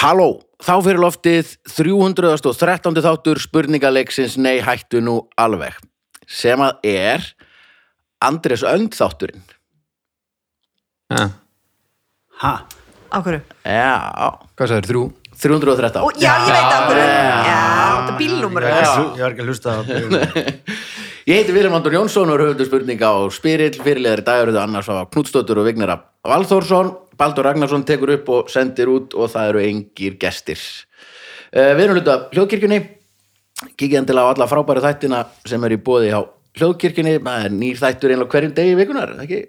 Halló, þá fyrir loftið 313. þáttur spurningaleiksins Nei hættu nú alveg sem að er Andrés Önd þátturinn Ha, Ha? Á hverju? Já, hvað sagður, þrjú? 313 Ó, já, ég veit á hverju. Já. Já, þetta er bílnúmer. Ég var ekki að hlu- ég var ekki að hlusta á Ég heiti Viljum Andur Jónsson og er höfundur spurninga á Spyrill, fyrirleðari dagaröðu annars á Knútsdóttur og Vignara Valþórsson Baldur Ragnarsson tekur upp og sendir út og það eru engir gestir uh, Við erum hluta af hljóðkirkjunni kikið endilega á alla frábæru þættina sem er í bóði hjá hljóðkirkjunni það er nýr þættur einlega á hverjum degi vikunar ekki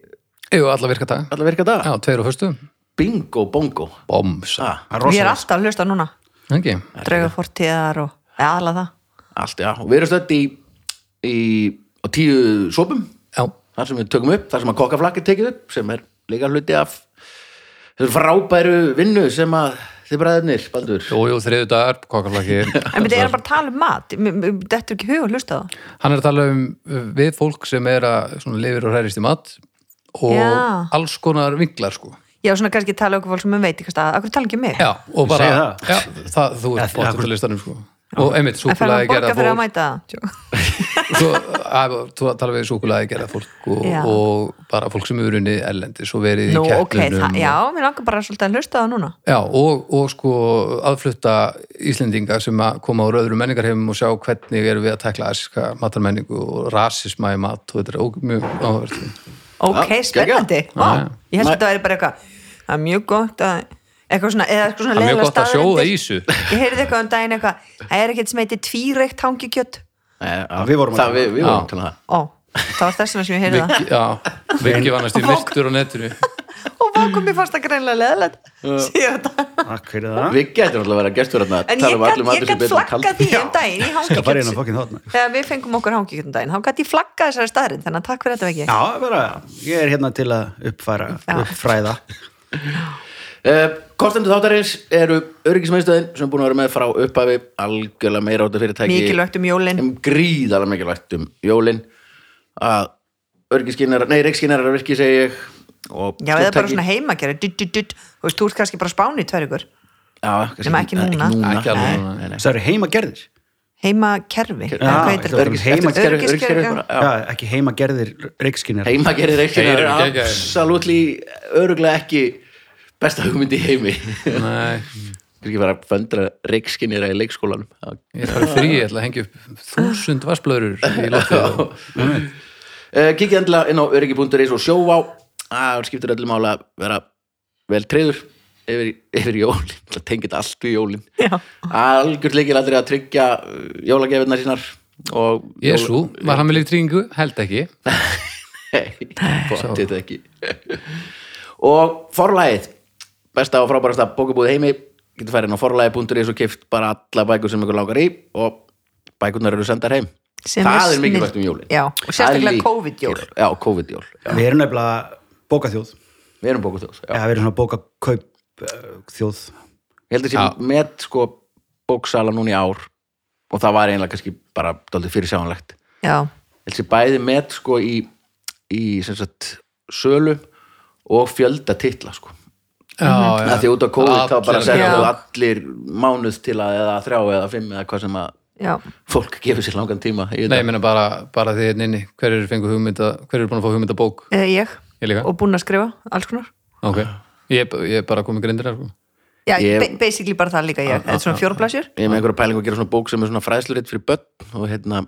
Jú, alla virka dag. alla virka dag Já, tveir og fyrstu. Bingo bongo Boms. ah, Ég er alltaf að hlusta núna. Ekki? Drauga fortíðar og ja, aðla það. Allt já og við erum stödd í, í á tíu sopum Já. þar sem við tökum upp, þar sem að kokkaflakki tekið upp sem er líka hluti af þessu frábæru vinnu sem að þið bræðinir, Baldur Jú, jú, þriðu dagar, kokkarlaki. En byrja, er hann bara að tala um mat? M- m- Dettur ekki í hug að hlusta á það? Hann er að tala um uh, við fólk sem er að svona, lifir og hræðist í mat og Já. alls konar vinglar, sko. Já, svona kannski tala um okkur fólk sem við veit ekki hvað Akkur tala ekki um mig? Já, og bara, Segðu það. já, það, þú Já, ert bóttið akkur- til listanum, sko. Og einmitt, En fer hann súkulæði að borga gerða fyrir að fólk. mæta það? Svo, að, þú tala við súkulæði gerða fólk og, Já. og bara fólk sem eru unni ellendis og verið Nú, í keppnunum. ok, það, já, mér langar bara svolítið að hlusta á það núna. Já, og, og sko aðflutta Íslendinga sem að koma úr öðru menningarheimum og sjá hvernig erum við að tekla asíska matarmenningu og rasisma í mat og þetta er óg- mjög áhverfið. Ok, geggjað. spennandi. Vá, Já, já. ég held að þetta væri bara eitthvað, það er mjög gott að, eitthvað svona, eða eitthvað svona Það er mjög leiðilega gott að sjóða staðreyndir. í þessu. Ég heyrði eitthvað um daginn eitthvað, það er ekkert sem heitir tvíreikt hangikjött. Nei, Við vorum að Eh, það, tala. við, við vorum Já. til það Ó, það var þess vegna sem ég heyrði það. Viggi- Já, Viggi var næstu myrtur á netinu. Og vá, kom mér fast að greinlega leðilegt. Síðan þetta. Takk fyrir það Við getum alltaf að vera gestur hérna En ég gat, ég gat flagga því um dag daginn í Skal fara inn á hangikjött. fokkin þátna Þegar við fengum okkur hangikjött um daginn, þá gat ég flagga þessari staðrin, þannig að takk fyrir þetta veggi. Já, bara, ég er hérna til að uppfæra, Já. uppfræða uh, Kostendur þáttarins eru öryggismeðstöðin sem er búin að vera með frá upphafi algjörlega meira áttu fyrirtæki Mikilvægt um jólin. um gríðalega mikilvægt um jólin að öryggiskinnar, nei, reykskinnara virki segi ég og Já, eða bara stjórntæki- svona heimagerði, dutt, dutt, dutt, þú veist, þú ert kannski bara á spáni í tvær ykkur, Já, kannski Eh, Nema ekki núna. Ekki alveg Nei, núna. nei, nei. Það eru heimagerðir heimakerfi, eða hvað heitir þetta þetta? var Ah, um Öryggiskerfi- heimagerðir öryggiskerfi, öryggiskerfi já. bara, Já, ekki heimagerðir reikskinnar heimagerðir Þeir reyksinnar eru er geggjaðir. absoluttli öruglega ekki besta hugmynd í heimi Nei, kannski bara að föndra reykskinnir í leikskólanum Já. ég þarf frí, ég ætla að hengja upp þúsund vasblöður í loftið. og- Eh, kikið endilega inn á öryggi.is og sjóvá það skiptir öllum ála að vera vel treyður yfir, yfir jólin það tengið allt við jólin Já. algjörð leikil aldrei að tryggja jólagefirnar sínar og Jesú, var hann með líftrýningu? Held ekki. Bóttið ekki Og forlægið Besta og frábærasta bókabúð í heimi Getur færin á forlægi.is og kift bara alla bækur sem ykkur langar í og bækurnar eru sendar heim Sem Það er er snill- mikilvægt um jólin Já, og sérstaklega Það er líka- COVID-jól. Já, COVID-jól Já, Við erum nefnilega bókaþjóð Já, Við erum bókutjós Ég við erum svona bókakaup eh, þjóð held að Já. sé með sko bóksala núna í ár og það var eiginlega kannski bara daldið fyrir sjáanlegt Já, held sér bæði með sko í, í sem sagt, sölu og fjölda titla sko. Já, já. að því út á COVID þá bara Allir- segja Já. þú allir mánuð til að eða þrjá eða fimm eða hvað sem að já, fólk gefur sér langan tíma í Nei, ég þetta. meina bara, bara því hérna inni, hver eru fengu hugmynda, hver eru búin að fá hugmynda bók? eða ég, Ég líka. og búin að skrifa, alls konar. Ok, ég er ég er bara komið grindir sko. Já, Ég- Ah, ba- basically bara það líka ég, þetta er svona fjórblasjur. ég er með einhverja pælingu að gera svona bók sem er svona fræðsluritt fyrir börn og hérna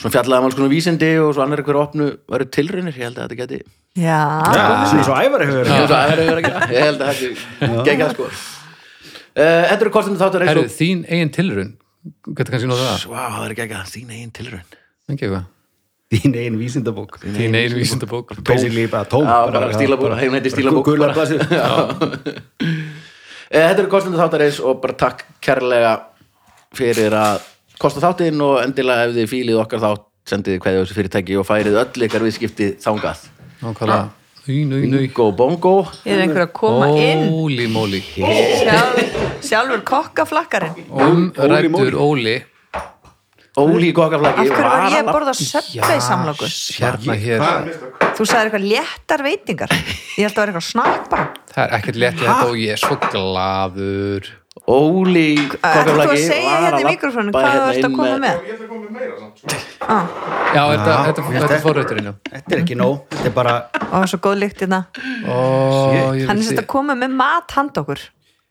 svona fjallaðum alls konar vísindi og svo annar einhverja opnu varu tilraunir, ég held að þetta geti Já, Svona svo ævar ég hefur verið. held að það er að gera, ég held að þetta gegja sko uh, Þetta eru kostum þáttur eins Herru, og þín eigin tilraun Getur kannski nóð það, Vá, það er gegja, þín eigin tilraun ekki eitthvað Þín einn vísindabók Þín eigin vísindabók Basically bara tóm Já, bara stílabók, heim heitir stílabók, Gula bara. blasið Eh, Þetta eru kostandi þáttarins og bara takk kærlega fyrir að kosta þáttinn og endilega ef þið fílið okkar þátt sendið þið hverju þessu fyrirtæki og færið öll ykkar viðskipti þangað. Nákvæmlega Í, nú, í, nú Bingo bongo. ég er einhver að koma inn, Óli móli sjálfur, sjálfur kokkaflakkarinn. Umrættur Óli Óli í Af kokkaflaki. hverju var ég að borða söpvei samlokur? Hérna hér Þú sagði eitthvað léttar veitingar, ég held að það var eitthvað snakk bara. það er ekkert lett í þetta og ég er svo glaður Óli Ertu þú að kokkaflaki segja var hérna í labba mikrofónu hvað hérna þú ert inn að koma með? Ég ætla að koma með meira samt, sko. já, þetta, þetta, ég þetta held er forrauturinn já. Þetta er ekki nóg, þetta er bara Ó, svo góð lykt hérna Ó, ég Hann er vil sérst sé- að koma með mat hand okkur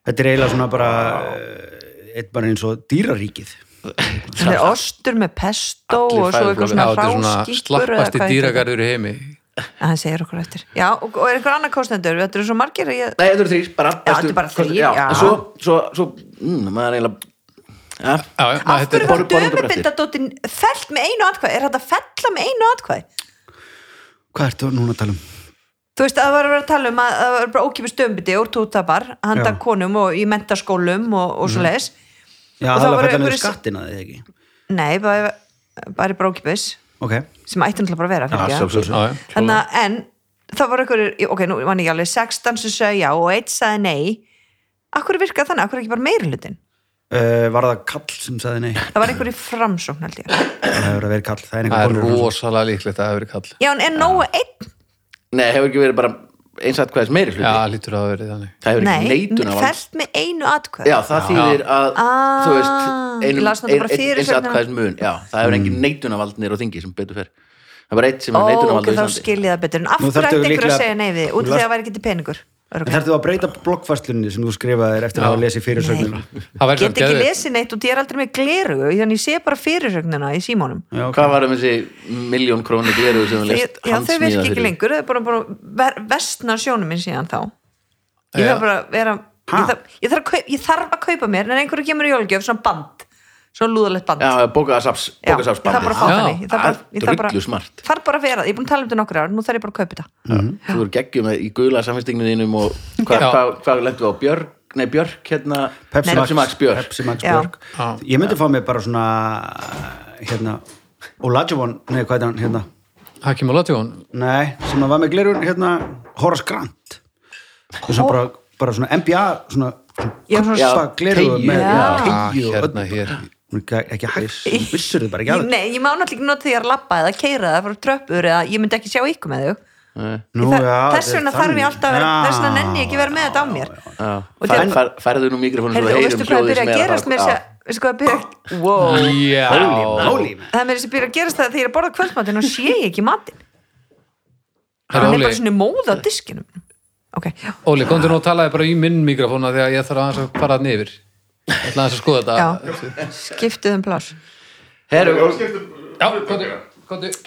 Þetta er eiginlega svona bara eh, eitt bara eins og dýraríkið Þetta er ostur með pesto Allir og svo fæðuflokkur. eitthvað Já, þetta svona er svona hráskíkur eða slappasti hvað heitir það? dýragarður í heimi Að Hann segir okkur eftir Já, og, og er einhver annar kostendur, þetta eru svo margir að ég... Nei, þetta eru þrýr, bara Já, bestu- þetta er bara þrír, já, já. en Svo, svo, svo, mm, maður er eiginlega ja, Já, já, Af þetta er- hverju var borð- borðabretti. dömubindadóttin fellt með einu atkvæði? Er þetta að fella með einu atkvæði? Hvað ertu núna að tala um? Þú veist, það var að vera að tala um að það var bara ókipis dömbindi úr tútapar, handa Já. Mhm. konum og í mentaskólum og, og svo leiðis. Já, um Og það það er að voru fæta niður einhverjir- skattina þig ekki Nei, bara, bara bara ókipis Ok, sem ætti náttúrulega bara að vera já, fyrir svo, svo, Já, svo. já. Þannig að, en það voru einhverjir, ok, nú var ég alveg 16 sem sagði já og eitt sagði nei Akkur virkaði þannig, akkur ekki bara meirulutin uh, var það kall sem sagði nei Það var einhverjir framsókn held ég Það hefur að vera kall, það er það einhver er konur rosalega líklegt að það hefur kall Já, en er nógu einn, Nei, hefur ekki verið bara einsætt hvaðis meiri hluti já, lítur að það verið þannig Það hefur nei, ekki neitun af alls fellt með einu atkvæði Já, það þýðir að, Ah, þú veist, ég einum, las þetta bara fyrir hérna. eins sögnina. atkvæðis mun, já, það hefur Mm. engin neitunavald nýr á þingi sem betur fer. Það er bara eitt sem Ó, hefur neitunavald ok, þá skil ég það betur En af Nú hverju þarftu ætti einhver að líklega- segja nei við því? Út af Þú því að las- það var ekki til peningur En þarftu að breyta bloggfæstlunni sem þú skrifaðir eftir að hafa lesið fyrirsögnina það Get verður ekki lesið neitt og ég er aldrei með gleru Þannig ég sé bara fyrirsögnina í símónum Já, ok. Hvað var um þessi miljón krónu gleruðu sem við Ég- leist Já, þau virki handsmíða ekki fyrir? lengur, þau bara, bara ver, vestna sjónum minn síðan þá Ég Já. þarf bara að vera Ha? ég þarf, ég, þarf að kaup, ég þarf að kaupa mér en einhverju kemur í jólgjöf, svona band svona lúðalegt band Já, bókaðasaps, Já, ég þarf bara að fá bókaðasapsbandið. Já. þannig ég þarf bara, ég þarf bara, Drullu smart. þarf bara að vera, ég er búin að tala um þetta nokkur ár nú þarf ég bara að kaupa þetta Mhm. Þú eru geggjum í guðla samfélstinginu þínum og hvað Já. hva, hva lentum við á Björk, nei Björk hérna, Pepsi Max, Max Björk. Pepsi Max Já. Björk. Já. Ég myndi fá mér bara svona hérna, Olajuwon nei, hvað er hann, hérna Hakim og Lotjón nei, sem að var með glerun, hérna Horace Grant og svona bara, bara svona NBA svona, Já, svona- Já, glerun teygju. með Já. teygju og hérna öllu. hér Hún er ekki- ekki hægt, hún vissur þið bara ekki ég, að Nei, ég má náttúrulega ekki nota því að lappa eða keira eða fara á tröppur eða ég myndi ekki sjá ykkur með þau Eh, Nú, Ég þarf- já, þess þetta er vegna þarf ég þannig. alltaf að vera Já. þess vegna nenni ég ekki að vera með þetta á mér Já, Og fær, þegar- fær, færðu nú mikrofónu svo Heyrðu, við og heyrum veistu hvað hljóðið er byrjað sem er að Mm. gerast með þess fara- að veistu hvað er byrjað wow. já Óli, það er með þessi byrjað að gerast það að þegar ég borða kvöldmatinn og sé ég ekki matinn Herra, hann er Óli. bara svona móð á diskinum ok, já, Óli, komdu nú og talaði bara í minn mikrofóna því að ég þarf aðeins að fara hann yfir ég ætla aðeins að skoða já. þetta skiptið um pláss Herru, Ég var skiptum... já, komdu, komdu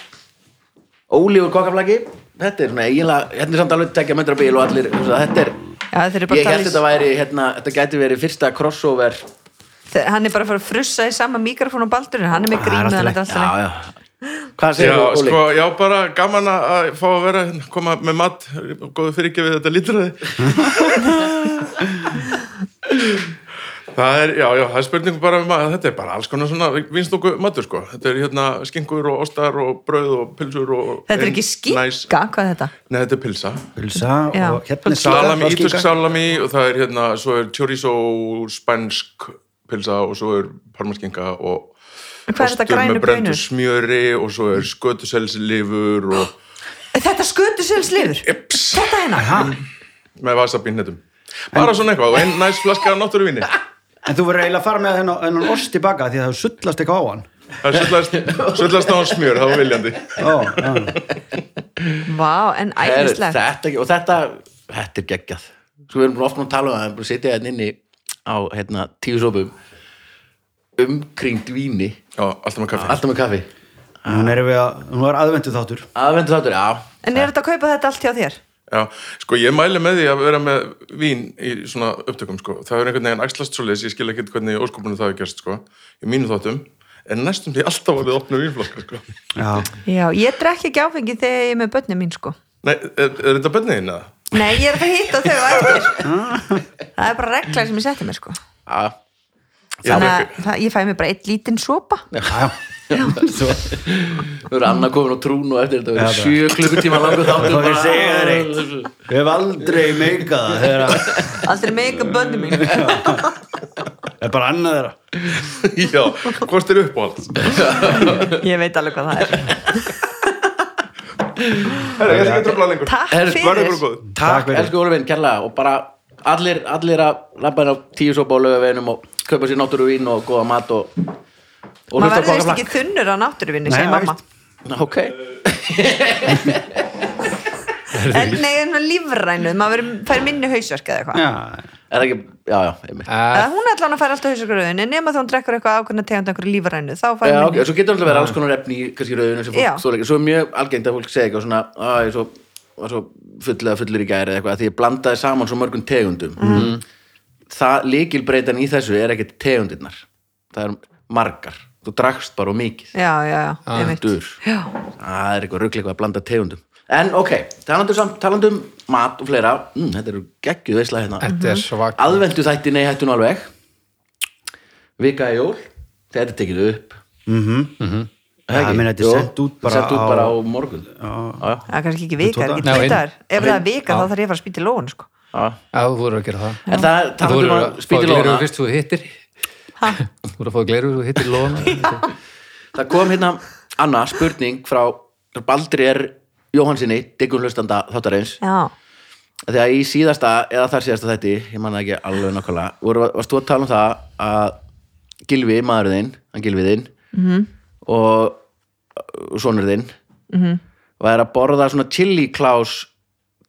Óli og kokkaflaki þetta er svona eiginlega, hérna er samt alveg tekja möndra bíl og allir, þess að þetta er já, þeir eru ég bara held að þetta tala væri, hérna, þetta gæti verið fyrsta crossover já, í hann er bara að fara að frussa í sama mikrofón og baldur hann Ah, er með er grín allt í með hann lagi. þetta alltaf já, hvað Já, segir þú Óli? sko, já, bara gaman að að fá að vera, hérna, koma með mat, góðu fyrirgefið þetta lítraði. það er, já, já, það er spurning bara um að þetta er bara alls konar svona vinstoku matur, sko. Þetta er hérna skinkur og ostar og brauð og pilsur og... þetta er ekki skinka, Næs- hvað er þetta? Nei, þetta er pilsa. Pulsa Já. og hérna er salami, skinka. ítösk salami og það er hérna, svo er chorizo spænsk pilsa og svo er parmaskinka og Hvað er þetta, ostur grænu með bröndu baunir? smjöri og svo er skötuselslifur og þetta skötu sölslifur þetta hérna, með vasabínnetum bara svona eitthvað og einn næst flaska af náttúruvinni En þú verður eiginlega að fara með hennan, hennan ost tilbaka því að það sullast eitthvað á hann það er sullast- sullast á hann smjör, það var viljandi Ó, já. vá, en Heru, æðislegt þetta, og þetta, þetta er geggjað sko við erum búin ofta að tala um það, við erum búin að sitja hérna inni á hérna, tíu sopum umkringd víni já, alltaf með kaffi alltaf með kaffi Nú erum við að, nú er aðvendu þáttur aðvendu þáttur, já, en er þetta að kaupa þetta allt hjá þér? já, sko ég mæli með því að vera með vín í svona upptökum sko það er einhvern veginn æxlast svo leis, ég skil ekki hvernig óskopunum það er gerst sko, í mínu þáttum en næstum því alltaf að við opnum vínflaskar sko Já, Já, ég drekk ekki áfengi þegar ég er með börnum mín sko. Nei, er, er þetta bönniðin eða? Nei, ég er að hitta þau á eftir Það er bara regla sem ég setti mér sko. já. Þannig að það- ég fæ mér bara eitt lítinn sopa Þú eru annað komin á trún og eftir þetta verður Já, sjö klukkutíma langur þáttur Þá ég bara- segja þér eitt. við hefum aldrei meikað það þegar að- Aldrei meika börnum mín það er bara annað þeirra Já, hvort er uppáhald? Ég veit alveg hvað það er Herra, ég ætla ekki að tröfla lengur. Takk Herra, Verður fyrir ykkur góð. Takk, Takk fyrir. elsku Ólafinn, kærlega og bara allir, allir að labba inn á tíu sopa á lögaveginum og kaupa sér náttúru vín og góða mat og, og Maður hlusta á verður veist kokkaflakk. ekki þunnur á náttúruvinni, Nei, segir maður mamma Ok, En nei, en lífrænuð, maður verður- fær minni hausverk eða eitthvað Já, er það ekki, já, já, einmitt Eh, Eða hún allan að færa alltaf hausverkuröðin en nema þegar hún drekkur eitthvað ákveðna tegund einhverju lífrænu, þá fær Já, ok, minni svo getur alltaf verið alls konar efni í kannski rauðinu sem Já. fólk stóleika Svo er mjög algengt að fólk segja eitthvað svona að ég svo, var svo fulla fullur í gæri eða eitthvað að því ég blandaði saman svo mörgum tegundum Mhm. mm. Það líkilbreytan í þessu er ekkert tegundirnar Það er margar, þú drakst bara og mikið Já, já, já, einmitt Dur, Já, það er eitthvað ruggli eitthvað að blanda tegundum En ok, talandum samt, talandum mat og fleira mm, Þetta eru geggjuð veisla hérna Þetta er svak aðvendu þætti nei hættu nú alveg vika í jól þetta er tekið upp Mhm. Já, ég meina, þetta er Jú, sent út bara sent út á- bara á morgun já, það er kannski ekki vika, er ekki Nei, á inn- tveitar Ef það er vika, Já. þá þarf ég að fara að spýta í lóun, sko já. Já, þú voru að gera það en það Þú talandum voru að að fá spýti gleru lóna fyrst þú hittir Ha? Þú voru að fá gleru þú hittir lóna það kom hérna Anna spurning frá Baldri er Jóhansinni, diggum hlustanda þáttarins Já, þegar í síðasta eða þar síðasta þætti, ég manna ekki alveg nákvæmlega voru, varst þú að tala um það að Gilvi, maðurinn þinn, hann Gilvi þinn Mhm. -hmm. og og sonur þinn mm Mhm. -hmm. væri að borða svona chili klás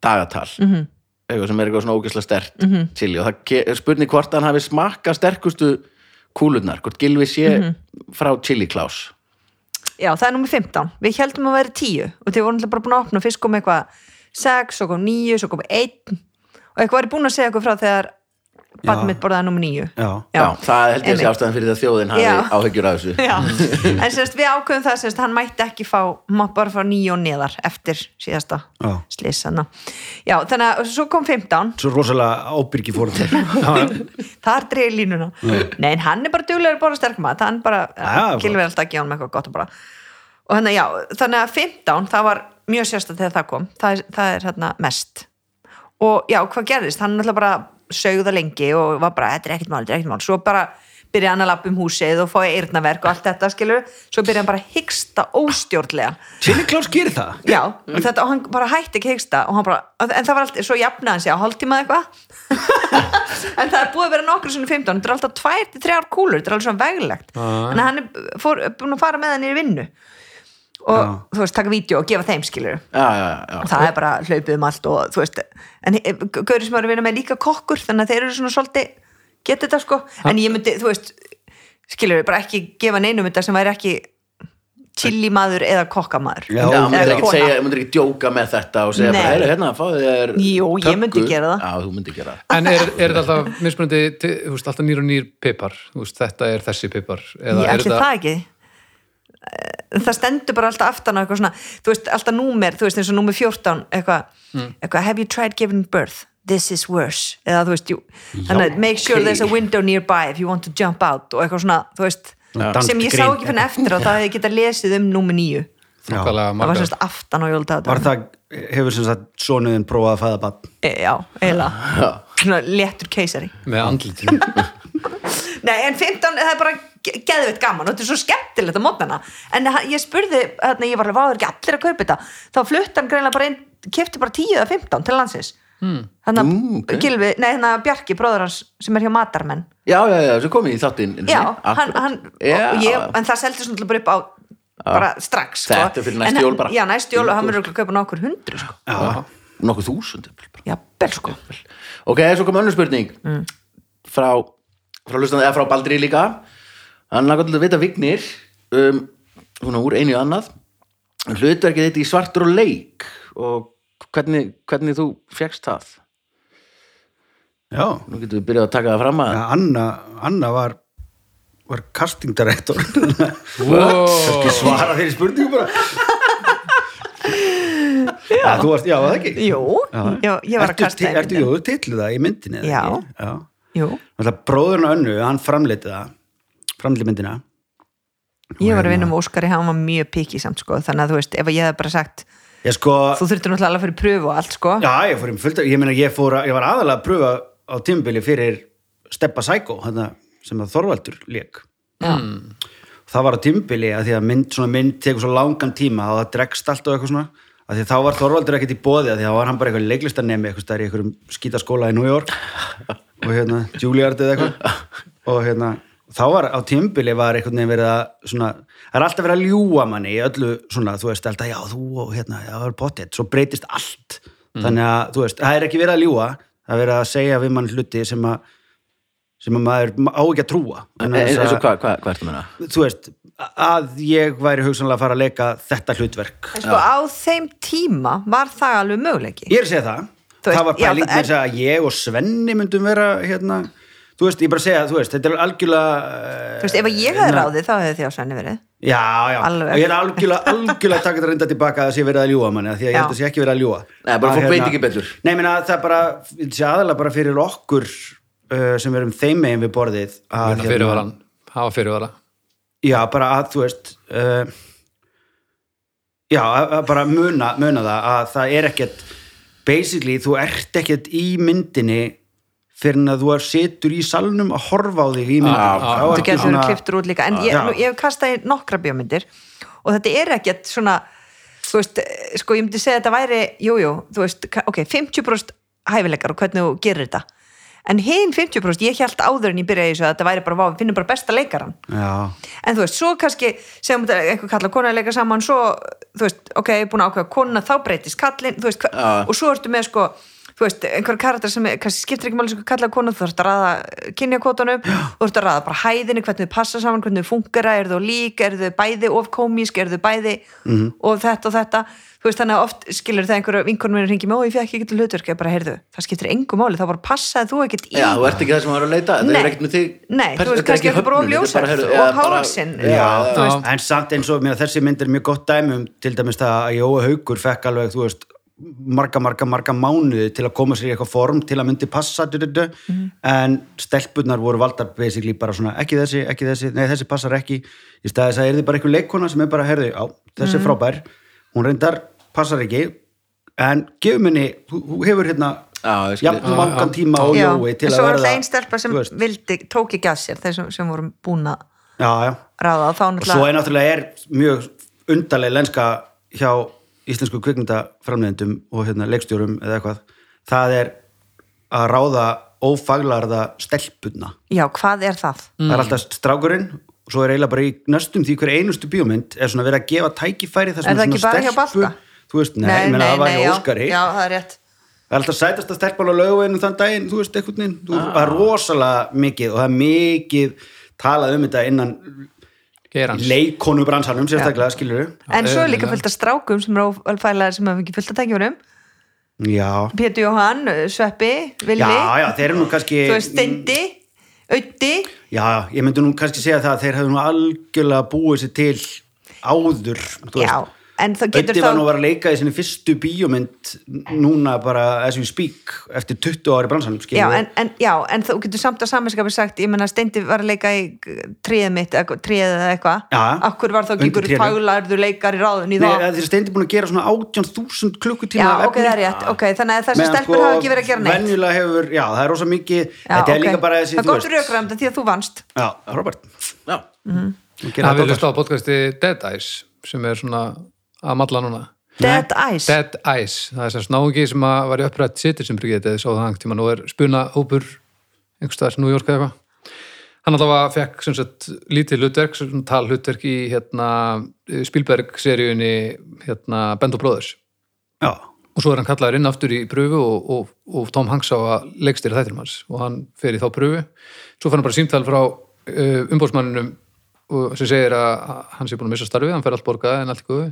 dagatal mm Mhm. -hmm. eitthvað sem er eitthvað svona ógeðslega stert chili og það ke- er spurning hvort hann hafi smakka sterkustu kúlurnar, hvort Gilvi sé Mhm. frá chili klás já, það er nummer 15 Við heldum að vera 10 og þið vorum alltaf bara búin að opna og fyrst kom eitthvað 6, svo kom 9, svo kom 1 og eitthvað er búin að segja eitthvað frá þegar barn Já. mitt borðaði nummer 9 já, já, það held ég að sé einmitt. ástæðan fyrir það þjóðin hafi Já. áhyggjur af þessu Já, en sérst við ákveðum það sérst hann mætti ekki fá, má bara fá nýju og neðar eftir síðasta já slýsana Já, þannig að og svo kom 15 Svo rosalega ábyrgi fórhaldur þar dreigir línuna Nei, en hann er bara duglegur að borða sterkmat hann bara, Já, kilvið alltaf að gefa hann með eitthvað gott að borða og þannig að já, þannig að 15 það var mjög sérstætt þegar það kom það, er- það er hérna mest og já, hvað gerðist, hann náttúrulega bara sögða lengi og var bara, þetta er ekkert mál, þetta er ekkert mál svo bara byrja hann að lappa um húsið og fóið eyrnaverk og allt þetta skilur svo byrja hann bara að hyggsta óstjórnlega Chili Klaus gerir það Já, og þetta, og hann bara hætti ekki hegsta og hann bara, en það var alltaf, svo jafnaði hann sig á hálftíma eða eitthvað en það er búið að vera nokkru sinni 15, þetta er alltaf tvær til þrjár kúlur, þetta er alveg svona veglegt Ah. en hann er fór, búin að fara með hann í vinnu og Já. þú veist, taka vídeo og gefa þeim skilur já, já, já, og það er bara hlaupið um allt og þú veist, en eh, Gauri sem eru að vinna með er líka kokkur þannig að þeir eru svona svolítið getið þetta sko, en ég myndi, þú veist skilur bara ekki gefa neinum þetta sem væri ekki chili maður eða kokkamaður Já, Já, Eða maður er ekki kona. segja, maður er ekki djóka með þetta og segja Nei. bara, heyri, hérna, fáðu þér Jú, ég töggu." myndi gera það. Já, þú myndi gera það. En er, er þetta alltaf mismunandi til- þú veist, alltaf nýr og nýr pipar þú veist, þetta er þessi pipar Ég eða er ætli þetta- það ekki Eh, það stendur bara alltaf aftan á eitthvað svona, þú veist, alltaf númer þú veist, eins og númer 14, eitthvað Mm. eitthvað, have you tried giving birth? This is worse, eða þú veist, jú þannig, að make sure there's a window nearby if you want to jump out og eitthvað svona, þú veist Danskt sem ég sá grín. ekki fyrir eftir á, það hefði getað lesið um númer 9, Já. Nákvæmlega það var margar. sérst aftan á Var jóldaðadag, það, hefur sem sagt sonuðin prófað að fæða bann e, já, eiginlega svona léttur keisari með andlitinu Nei, en 15, það er bara ge- geðveitt gaman og þetta er svo skemmtilegt að mótnana en ha- ég spurði, hérna, ég var alveg váður ekki allir að kaupa þetta, þá flutt hann greinlega bara inn, kefti bara 10 eða 15 til landsins hmm. þannig að Mm, ok. Gilvi, nei, þannig að Bjarki, bróður hans sem er hjá Matarmenn Já, já, já, svo komið í þáttinn. einu Já, sinni, Mhm. hann, akkurat. hann, já, og ég, en það seldi svona bara upp á bara strax sko. Þetta er fyrir næstu En hann- jól bara. Já, næstu jól og hann verður örugglega að kaupa nokkur hundru sko. já. Nokkuð þúsund. jafnvel bara. Já, bel sko Ok, svo kom önnur spurning Mm. frá, frá hlustandi, eða frá Baldri líka. Hann langar til að vita vignir, um, svona úr einu í annað, hlutverkið þetta í svartur og leik og hvernig, hvernig þú fjekkst það. Já, Nú getum við byrjað að taka það fram að Já, Ah. Anna, Anna var var castingdirektor wow. svara þeirri spurningu bara Já, þú varst, já, var það ekki Jú, já, ég var að Ertu kasta ti- Ertu, jú, titlu það í myndinni eða Já. ekki? já. Jú, Náttúrulega bróðurinn á önnu, hann framleiti það framleiti myndina ég hérna. var að vinna með Óskari, hann var mjög piki samt sko, þannig að þú veist, ef ég hefði bara sagt Ég sko, þú þurftir náttúrulega alveg fyrir pröfu og allt sko já, ég fór í fullt af- ég meina, ég fór, að- ég var aðalega að pröfa á tímbili fyrir Steppa Psycho þarna, sem að Þorvaldur lék Já. Mm. það var á tímbili að því að mynd, svona mynd tekur svo langan tíma og það dregst allt og eitthvað svona að því þá var Þorvaldur ekkert í boði að því þá var hann bara eitthvað leiklistanemi eitthvað stær í einhverjum skítaskóla í New York og hérna, Juilliard eða eitthvað og hérna, þá var á tímbili var einhvern veginn verið að svona, það er alltaf verið að ljúga manni í öllu svona, þú veist, alltaf já, þú og hérna, já, það er pottet svo breytist allt, Mm. þannig að þú veist, það er ekki verið að ljúga, það er verið að segja við mann hluti sem að sem að maður á ekki að trúa Vegna eins E- þess eins og að- hvað hva, hva ertu að meina? þú veist, að ég væri hugsanlega að fara að leika þetta hlutverk En sko á þeim tíma var það alveg möguleiki. ég er að segja það, Þú veist, það var já, það pæling er- með þess að ég og Svenni myndum vera hérna, þú veist, ég bara segja þú veist, þetta er algjörlega eh, Þú veist, ef að ég hefði ráðið þá hefði því á svenni verið. já, já, Alveg. og ég er algjörlega algjörlega að taka þetta reynda tilbaka að það sé verið að ljúga manni af því að Já. ég held að sé ekki verið að ljúga Nei, bara Að, hérna, fólk veit ekki betur. nei, meina, það er bara, þetta sé aðalega bara fyrir okkur uh, sem erum þeim megin við borðið að, Muna fyrirvaran, hafa fyrirvara já, bara að þú veist uh, já, að- að bara muna, muna það að það er ekkert basically þú ert ekkert í myndinni fyrir en að þú er situr í salnum að horfa á þig í Já, myndinni já. Þá Þú ertu getur svona- verið kliftur út líka. En ég, Já. nú, ég hef kastað í nokkra bjómyndir og þetta er ekkert svona, þú veist, eh, sko ég myndi segja að þetta væri, jú, jú, þú veist, ka- ok, 50% hæfileikar og hvernig þú gerir þetta. En hinn 50% ég held áður en ég byrjaði í þessu að þetta væri bara, vá, við finnum bara besta leikaran. já, en þú veist, svo kannski sem þetta einhver kalla kona að leika saman svo, þú veist, ok, ég er búin að ákveða kona þá breytist kallinn, þú veist, hva, Já. og svo ertu með sko, þú veist, einhver karakter sem er, kannski skiptir ekki máli sem kalla kona, þú þurft að ræða kynjakvotanum, þú þurft að ræða bara hæðinu hvernig þau passa saman, hvernig þau fungera, er þau lík er þau bæði of komísk, er þau bæði Mhm. og þetta og þetta þú veist, þannig að oft skilur það einhverja vinkonum minn ringi mig, ó, ég fekk ekki hlutverk, ég bara, heyrðu það skiptir engu máli, þá bara passaði þú ekkert í Já, þú ert ekki það sem maður er að leita þetta Nei. er ekkert með þig Nei, þú pers- þetta veist, er kannski ekki ertu bara of höfnun, þetta er ljóshærð bara, heyrðu, og já, bara- hárvaxin. Já, Já. já. þú veist. en samt eins og mér, þessi mynd er mjög gott dæmi um til dæmis það að Jóa Haugur fekk alveg þú veist, marga, marga, marga mánuði til að koma sér í eitthvað form til að myndi passa du, du, du. Mhm. en stelpurnar voru valdar basically bara svona ekki þessi, ekki þessi, nei þessi passar ekki í staði þess að er þið bara einhver leikona sem er bara herði á, Mhm. þessi er frábær hún reyndar, passar ekki en gefum henni, þú þú hefur hérna Já, ég skil. jafn mangan tíma og Já, Jói til en að svo var verða alltaf einn stelpa sem þú veist. vildi, tók ekki að sér þeir sem, sem vorum búin að já, já ráða og þá og svo náttúrulega er náttúrulega er mjög undarleg lenska hjá íslensku kvikmyndaframleðendum og hérna, leikstjórum eða eitthvað það er að ráða ófaglarða stelpunna já, hvað er það? það er alltaf strákurinn og svo er eiginlega bara í næstum því hver einustu bíómynd er svona verið að gefa tækifæri þar Er sem það ekki bara hjá Balta? þú veist, nei, nei, nei það var hjá Óskari já, já, það er rétt Það er alltaf sætast að stelpa alveg lögveginum þann daginn, þú veist, einhvern veginn, þú- Ah. það er rosalega mikið og það er mikið talað um þetta innan Gerans leikonubransanum, sérstaklega, skilur við. en það svo er er líka það. fullt af strákum sem eru ófælaðir sem hafa ekki fullt að tækjunum Já, Pétur Jóhann, Sveppi, Vilmi já, já, þeir eru nú kannski þú veist, Steindi Ötti, Já, ég myndi nú kannski segja það að þeir hefðu nú algjörlega búið sér til áður þú já, veist. en það getur Öddi þá var nú að vera að leika í sinni fyrstu bíómynd núna bara as we speak eftir 20 ári bransanum skilur já, við. en, en, já, en þú getur samt að saminskapi sagt, ég menna Steindi var að leika í tríð mitt, tríð eða eitthvað Já. akkur var þá ekki Undir ykkur trénu. faglarður leikar í ráðun í Nei, þá að þeir steindi búin að gera svona 18.000 klukkutíma Já, af ok, efni. það er rétt, ok, þannig að þessi Meðan sko, stelpur hafa ekki verið að gera neitt venjulega hefur, já, það er rosa mikið Já, þetta er ok. líka bara þessi, Það er gott rökræmt því að þú vannst Já, Robert, Já. hún Það gerir þetta við okkar. hlusta á podcasti Dead Eyes sem er svona að malla núna Dead Eyes Dead Eyes, það er sem snáungi sem að var í upprætt sitir sem Brigitte sá það hangt tíma og er spuna hópur einhverstaðar New York eða eitthvað hann allavega fekk sem sagt lítið hlutverk, sem tal hlutverk í hérna Spielberg-seríunni hérna Band of Brothers Já, og svo er hann kallaður inn aftur í pröfu og, og, og Tom Hanks á að leikstýra þættinum hans og hann fer í þá pröfu svo fann hann bara símtal frá uh, umbóðsmanninum sem segir að hann sé búin að missa starfið, hann fer allt borgað en allt í guðu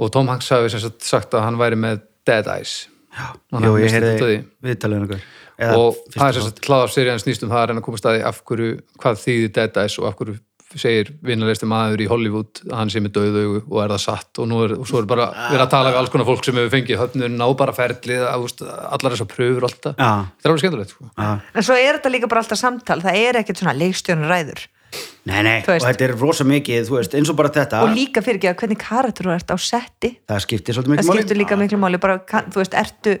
og Tom Hanks hafi sem sagt sagt að hann væri með dead eyes já, Jú, ég heyrði viðtalið um einhver og það er sem sagt hláðar serían snýst um það að reyna að koma staði af hverju, hvað þýðir Dead Eyes og af hverju segir vinnarleisti maður í Hollywood að hann sé með döðaugu og er það satt og, nú er, og svo er bara verið að tala við alls konar fólk sem hefur fengið höfnun á bara ferlið að, úst, allar þessar pröfur og allt það Já. þetta er alveg skemmtilegt sko. Já. En svo er þetta líka bara alltaf samtal Það er ekkert svona leikstjórn ræður Nei, nei, Þú og veist. þetta er rosa mikið, þú veist, eins og bara þetta Og líka fyrir ekki að hvernig karakter þú ert á setti það skiptir svolítið Það mikið máli skiptur líka miklu máli bara, kann- Þú veist, ertu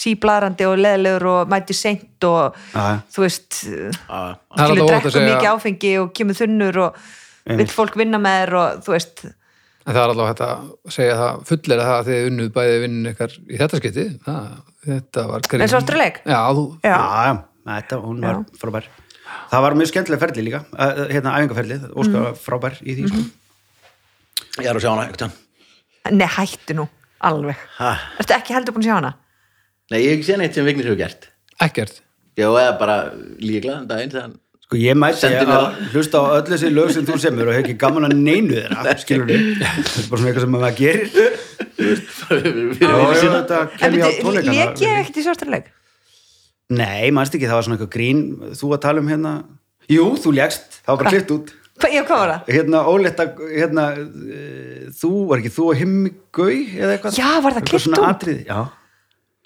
síbladrandi og leðilegur og mæti seint og Já. þú veist Já. Það er alltaf skilur óhætt að drekku segja- mikið áfengi og kemur þunnur og vill fólk vinna með þér og þú veist En það er allavega hægt að segja það fullir það að þið unnuð bæði vinnun ykkar í þetta skytti. Þetta var grín. En svo aftur leik? Já, þú, Já. já, já, þetta, hún var frábær það var mjög skemmtileg ferli líka eh, hérna æfingaferlið, Óskar Mhm. var frábær í því sko. Ég er að sjá hana eitthvað. Nei, hættu nú, alveg Ha. Ertu ekki heldur búin að sjá hana? Nei, ég hef ekki séð neitt sem Vignir hefur gert. ekkert. Já, eða bara líkla en daginn þegar hann... sko ég mæti Sendi mér að hlusta á öll þessi lög sem þú semur og hef ekki gaman að neinu þeirra skilur við, þetta er bara svona eitthvað sem maður gerir Fyrir og vinnu sína. þetta En kem ég á byrju, tónleikana lék ég ekkert í svartur leik? nei, mannst ekki, það var svona eitthvað grín þú að tala um hérna jú, þú legst, það var bara klift út Hva- Já, hvað var það? hérna ólétta hérna, eh, þú, var ekki þú og himmigau eða eitthvað Já, var það Eitthvað klippt svona út? atriði, já,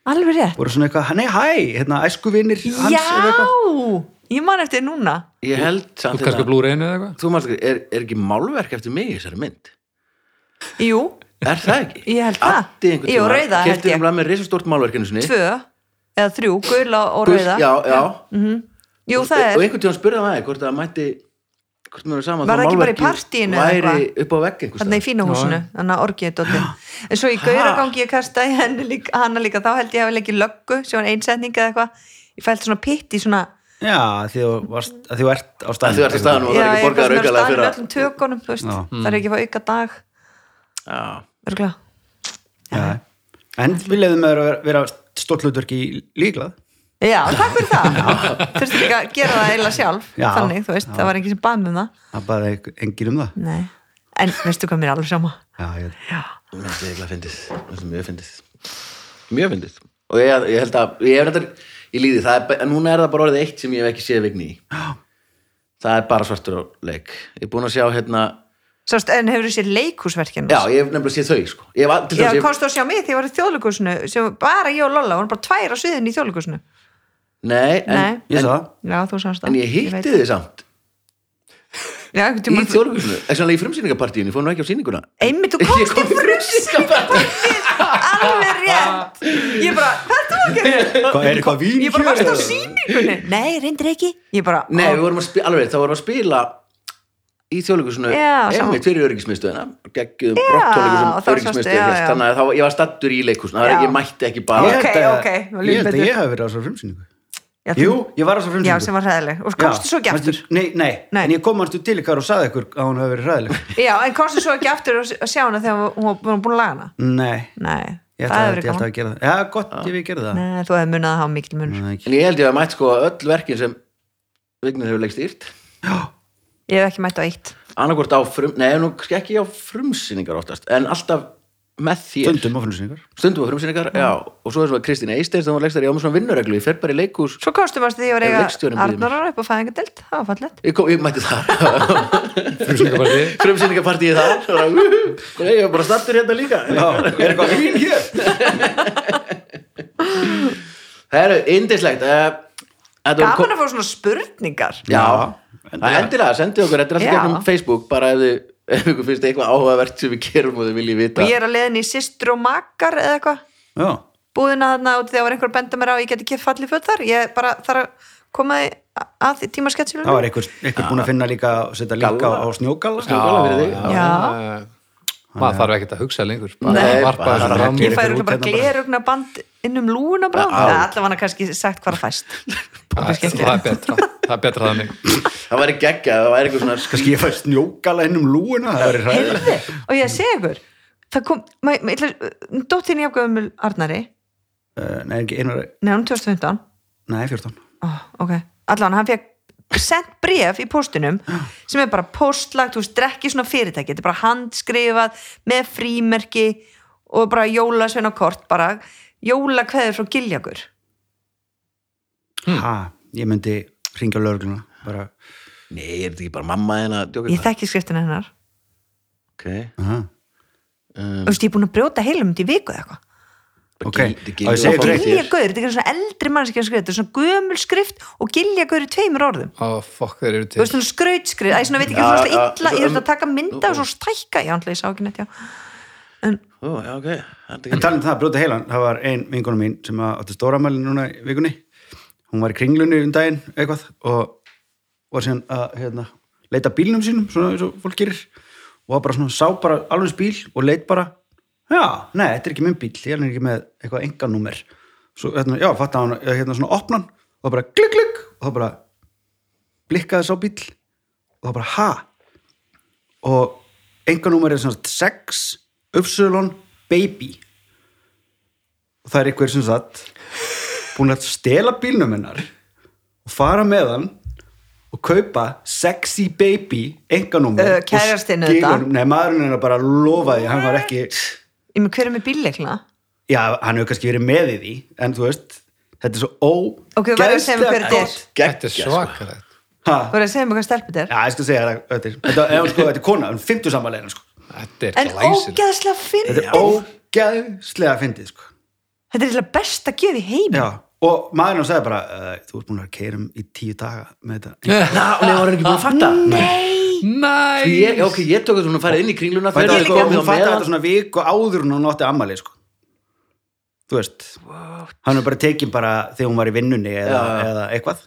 Alveg rétt voru svona eitthvað, nei hæ hérna æskuvinir hans eða Já, eitthvað ég man eftir núna Ég held Þú samt ert kannski hérna- að blúra einu eða eitthvað? Þú manst ekki, er, er ekki málverk eftir mig í þessari mynd? Jú, Er það ekki? Ég held það. Addi einhvern Jú, tímann rauða held keypti ég. nefnilega með risastórt málverkinu sinni. tvö eða þrjú, gula og Gull- rauða Já, já. Jú, Og- það Og er, einhvern tíðan spurði hann aðeins hvort það mætti, hvort mér er saman, Var það ekki bara í málverkið partíinu eða væri eitthvað? upp á vegg einhvers þannig í staðar. fína húsinu þannig að orgiði dóttin en svo í gauragangi ég kasta í henni líka, hana líka þá held ég hafi leikið löggu sem var einsetning eða eitthvað ég fælt svona pitt í svona já, því þú, varst, að því þú ert á Að staðnum þú ert á staðnum og það Já, er ekki ég borgaður eitthvað sem er aukalega fyrir staðnum að- öllum tökunum, þú veist, Já. það er ekki að fá auka dag Já. örgulega já. en við leiðum að vera, vera stórt hlutverk í líklað Já, takk fyrir það þurfti líka að gera það eiginlega sjálf Já. þannig, þú veist, það var enginn sem bað með það það baði engin um það Nei. en veistu hvað mér er alveg sama já, ég, Mér finnst það eiginlega fyndið, Mér finnst það mjög fyndið Mjög fyndið Og ég, ég held að, ég hef þetta í líði það er, ba- En núna er það bara orðið eitt sem ég hef ekki séð vigni í Það er bara svartur á leik Ég er búin að sjá hérna Sást, en hefur þú sér leikhúsverkinu Já, ég hef nefnilega séð þau sko. Ég hef að- til Já, dæmis- ég, komst þú að sjá mig þegar ég var í þjóðleikusinu sem bara ég og Lolla, vorum bara tvær á sviðinu í þjóðleikusinu Nei, en, Nei. ég en, sá það Já, þú sást það en ég veit. hitti þið samt Já, Í einhvern tímann- þjórgusinu, ekki sannlega í frumsýningapartíinu Ég fór nú ekki á sýninguna Einmitt, þú Ég komst kom í frumsýningapartíð Alveg rétt Ég bara, hvað þú að gera? Hvað, er eitthvað vín Ég bara hér varst á eða? sýningunni Nei, reyndir ekki Ég bara, Nei, á, við vorum að spila, alveg, þá vorum við að spila í þjóðleikusinu Já, sama. einmitt fyrir öryggismiðstöðina geggjum Já, og brottóleikusum þá sástu, öryggismiðstöð já, hélt, já. þannig að þá, ég var stattur í leikusinu þannig að Já. ég mætti ekki Ég bara held Ok, að- ok, nú líður ég held að betur. ég hafi verið á svo frumsýningu já, jú, ég var á svo Já, frumsýningu sem var hræðileg Og komstu Já, svo ekki manstu- aftur nei, nei, Nei. en ég kom mannstu til ykkar og saði ykkur að hún hafi verið ræðileg Já, en komstu svo ekki aftur að að sjá hana þegar hún var- hún var búin að laga hana nei, Nei, ég það hefur ætlaði ekki gaman alltaf að gera það já, gott, ég við gera það Nei, þú hefði munað að hafa mikil mun Nei, ekki. en ég held ég að mætt sko öll verkin sem Vignir hefur leikst yrt Ég hef ekki mætt á eitt annarkvort á frum, nei, nú kannski ekki á frumsýningar oftast, en alltaf með þér, stundum á frumsýningar stundum á frumsýningar já, og svo er svona Kristín Eisteins, þannig að leikstari á með svona vinnureglu, ég fer bara í leikus Svo komstum að því að Ef eiga leikstjórinn býður mér. Arnarar upp á fæðingadelt, það var fallegt ég, kom, ég mætti það, Frumsýningapartí. frumsýningapartíið þar bara, "Woohoo." ég var bara stattur hérna líka Já, er eitthvað vín hér? Það eru indislegt uh, Gaman að fá svona spurningar Já, endilega, endilega sendið okkur, þetta er alltaf Já. gegnum Facebook bara ef þið, ef ykkur finnst eitthvað áhugavert sem við gerum og þið viljið og vita ég er að leiðin í systur og makar eða eitthvað, Já, búðina þarna út þegar var einhver að benda mér á að ég geti keft fallið föt þar ég bara þarf að koma í- að það tímasketsilunum var einhver, einhver búin að finna líka og setja líka Galla. á snjókalla Snjógala fyrir þig. Já. já. Ah. Maður þarf ekkert að hugsa lengur. Nei, varpa bara- þessu bara- fram. ég Ég fæ fyrir örugglega bara út hérna bara. glerugna band inn um lúuna bara, Já. ja, allavega hann kannski sagt hvað það fæst Það það er betra. Það er betra þannig. Það væri geggja, það væri eitthvað svona kannski ég fæ snjókalla inn um lúuna það verið hræðilegt Heyrðu, og ég segi ykkur það kom, maður, maður, maður, dóttin ég afgöfum Arnari, Uh, nei, ekki einar, nefnum 2015 nei, 14 oh, ok, allan hann fekk sendt bref í póstinum sem er bara póstlagt, þú veist, drekki svona fyrirtæki þetta er bara handskrifað með frímerki og bara jólasveina kort bara jólakveður frá giljagur ha, ég myndi ringja lögregluna bara, Nei, er þetta ekki bara mamma þín að djóka ég þekki skriftina hennar okay. aha, þú veist, ég er búin að brjóta heilum út í viku eða eitthvað Bara Ok, gil- þetta gengur á ég segi áfram þetta með þér. giljagur, þetta er ekki svona eldri mannskjum skrift þetta er svona gömul skrift og giljagur í tveimur orðum Á, fokk, þeir eru þú til. veist, svona skrautskrið, æ, svona veit ekki Já, hvað svona já, illa, svo- ég þurfti um- að taka mynda og svo stækka, já, andlega, ég sá ekki neitt, já Ó, já, ok, þetta en gengur talað um það, brjóta heilan það var ein vingunum mín sem að- átti stóramæli núna í vikunni hún var í kringlunni um daginn eitthvað og var síðan að hérna, leita að bílnum sínum svona eins og fólk gerir og var bara svona, sá bara alveg eins bíl og leit bara, já, nei, þetta er ekki minn bíl, ég er ekki með eitthvað enganúmer svo, hérna, já, fatta hann hérna svona opnan og bara glugg, glugg og það bara blikkaði sá bíl og það bara, ha og enganúmer er svona 6 uppsölun baby og það er einhver sem satt búin að stela bílnum hennar og fara með hann og kaupa sexy baby enganúmer Ö, og Uh, kærastinn skila auðvitað. honum- nei maðurinn hennar bara lofaði hann var ekki, Ég með hver er með bílleikna? já hann hefur kannski verið með í því en þú veist, þetta er svo ó Ok, þú verður að segja mér hver þetta er. Þetta Gekkja, er sko. svakalegt. Þú er verður að segja um mér hvað stelpur þetta er. já ég skal segja það þetta er, þetta er, sko, þetta er kona, hún fimmtu samanlega sko. Þetta er En glæsilegt. ógeðslega fyndið. þetta er ógæðslega fyndið sko. Þetta er eitthvað best að gefa í heim. já, og maðurinn hann sagði bara uh, þú ert búin að keira um í tíu daga með þetta Ná, og ég var ekki búin að fatta Nei! Næs! ég, ok, ég tók þetta svona að fara inn í kringluna Þetta þegar var ég sko, komið á hún fattaði þetta meðan svona viku áður en hún átti ammali sko. þú veist hann er bara tekin bara þegar hún var í vinnunni eða, eða eitthvað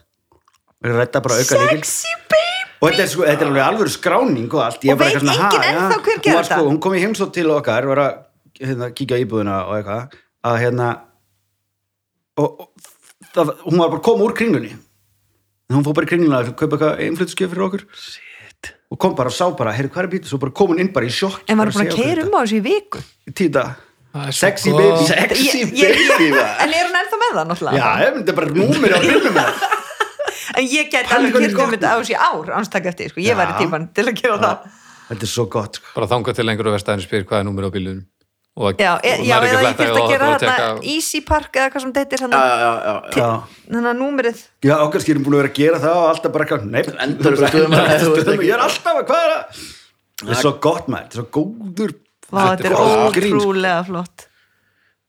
rætta bara auka líkil Sexy babe! og þetta er, sko, þetta er alveg alveg skráning og allt Og Ég er bara veit eitthvað svona, enginn ha, ja. ennþá hver Hún gerði var, sko, þetta? hún kom í heimsótt til okkar var að hérna, kíkja á íbúðuna og eitthvað að hérna og, og það, hún var bara að koma úr kringunni en hún fór bara í kringunni að kaupa eitthvað einflutuskjöf fyrir okkur Shit. og kom bara og sá bara, heyrðu hvað er býtið svo bara kom hún inn bara í sjokk En maður er búin að keira um á þessu í viku. títa, Það er svo sexy gott. baby sexy Ég- ég- baby maður. En er hún ennþá með það já, náttúrulega? ef þetta er bara númir á bílnum hennar. En ég gæti Pældi alveg hvernig kyrkt um gott þetta á þessu í ár, ánstak eftir, sko. Ég væri Já. tíman til að gera það. þetta er svo gott sko. Bara þangað til lengur og verstaðin spyr hvað er númer á bílunum. Og það- Já, og e, maður er ekki já eða ég fletta þurfti og- að gera og þarna tekka- Easy Park eða hvað sem þetta Já, heitir, já, já, já. já, þannig að númerið. já okkar skýrum búin að vera að gera það og alltaf bara eitthvað, nei, Endalaust stöðum að- Endalaust stöðum að- ég er alltaf að hvað er það það er svo gott maður, þetta er svo góður Vá, þetta er flott grín, sko. ótrúlega flott.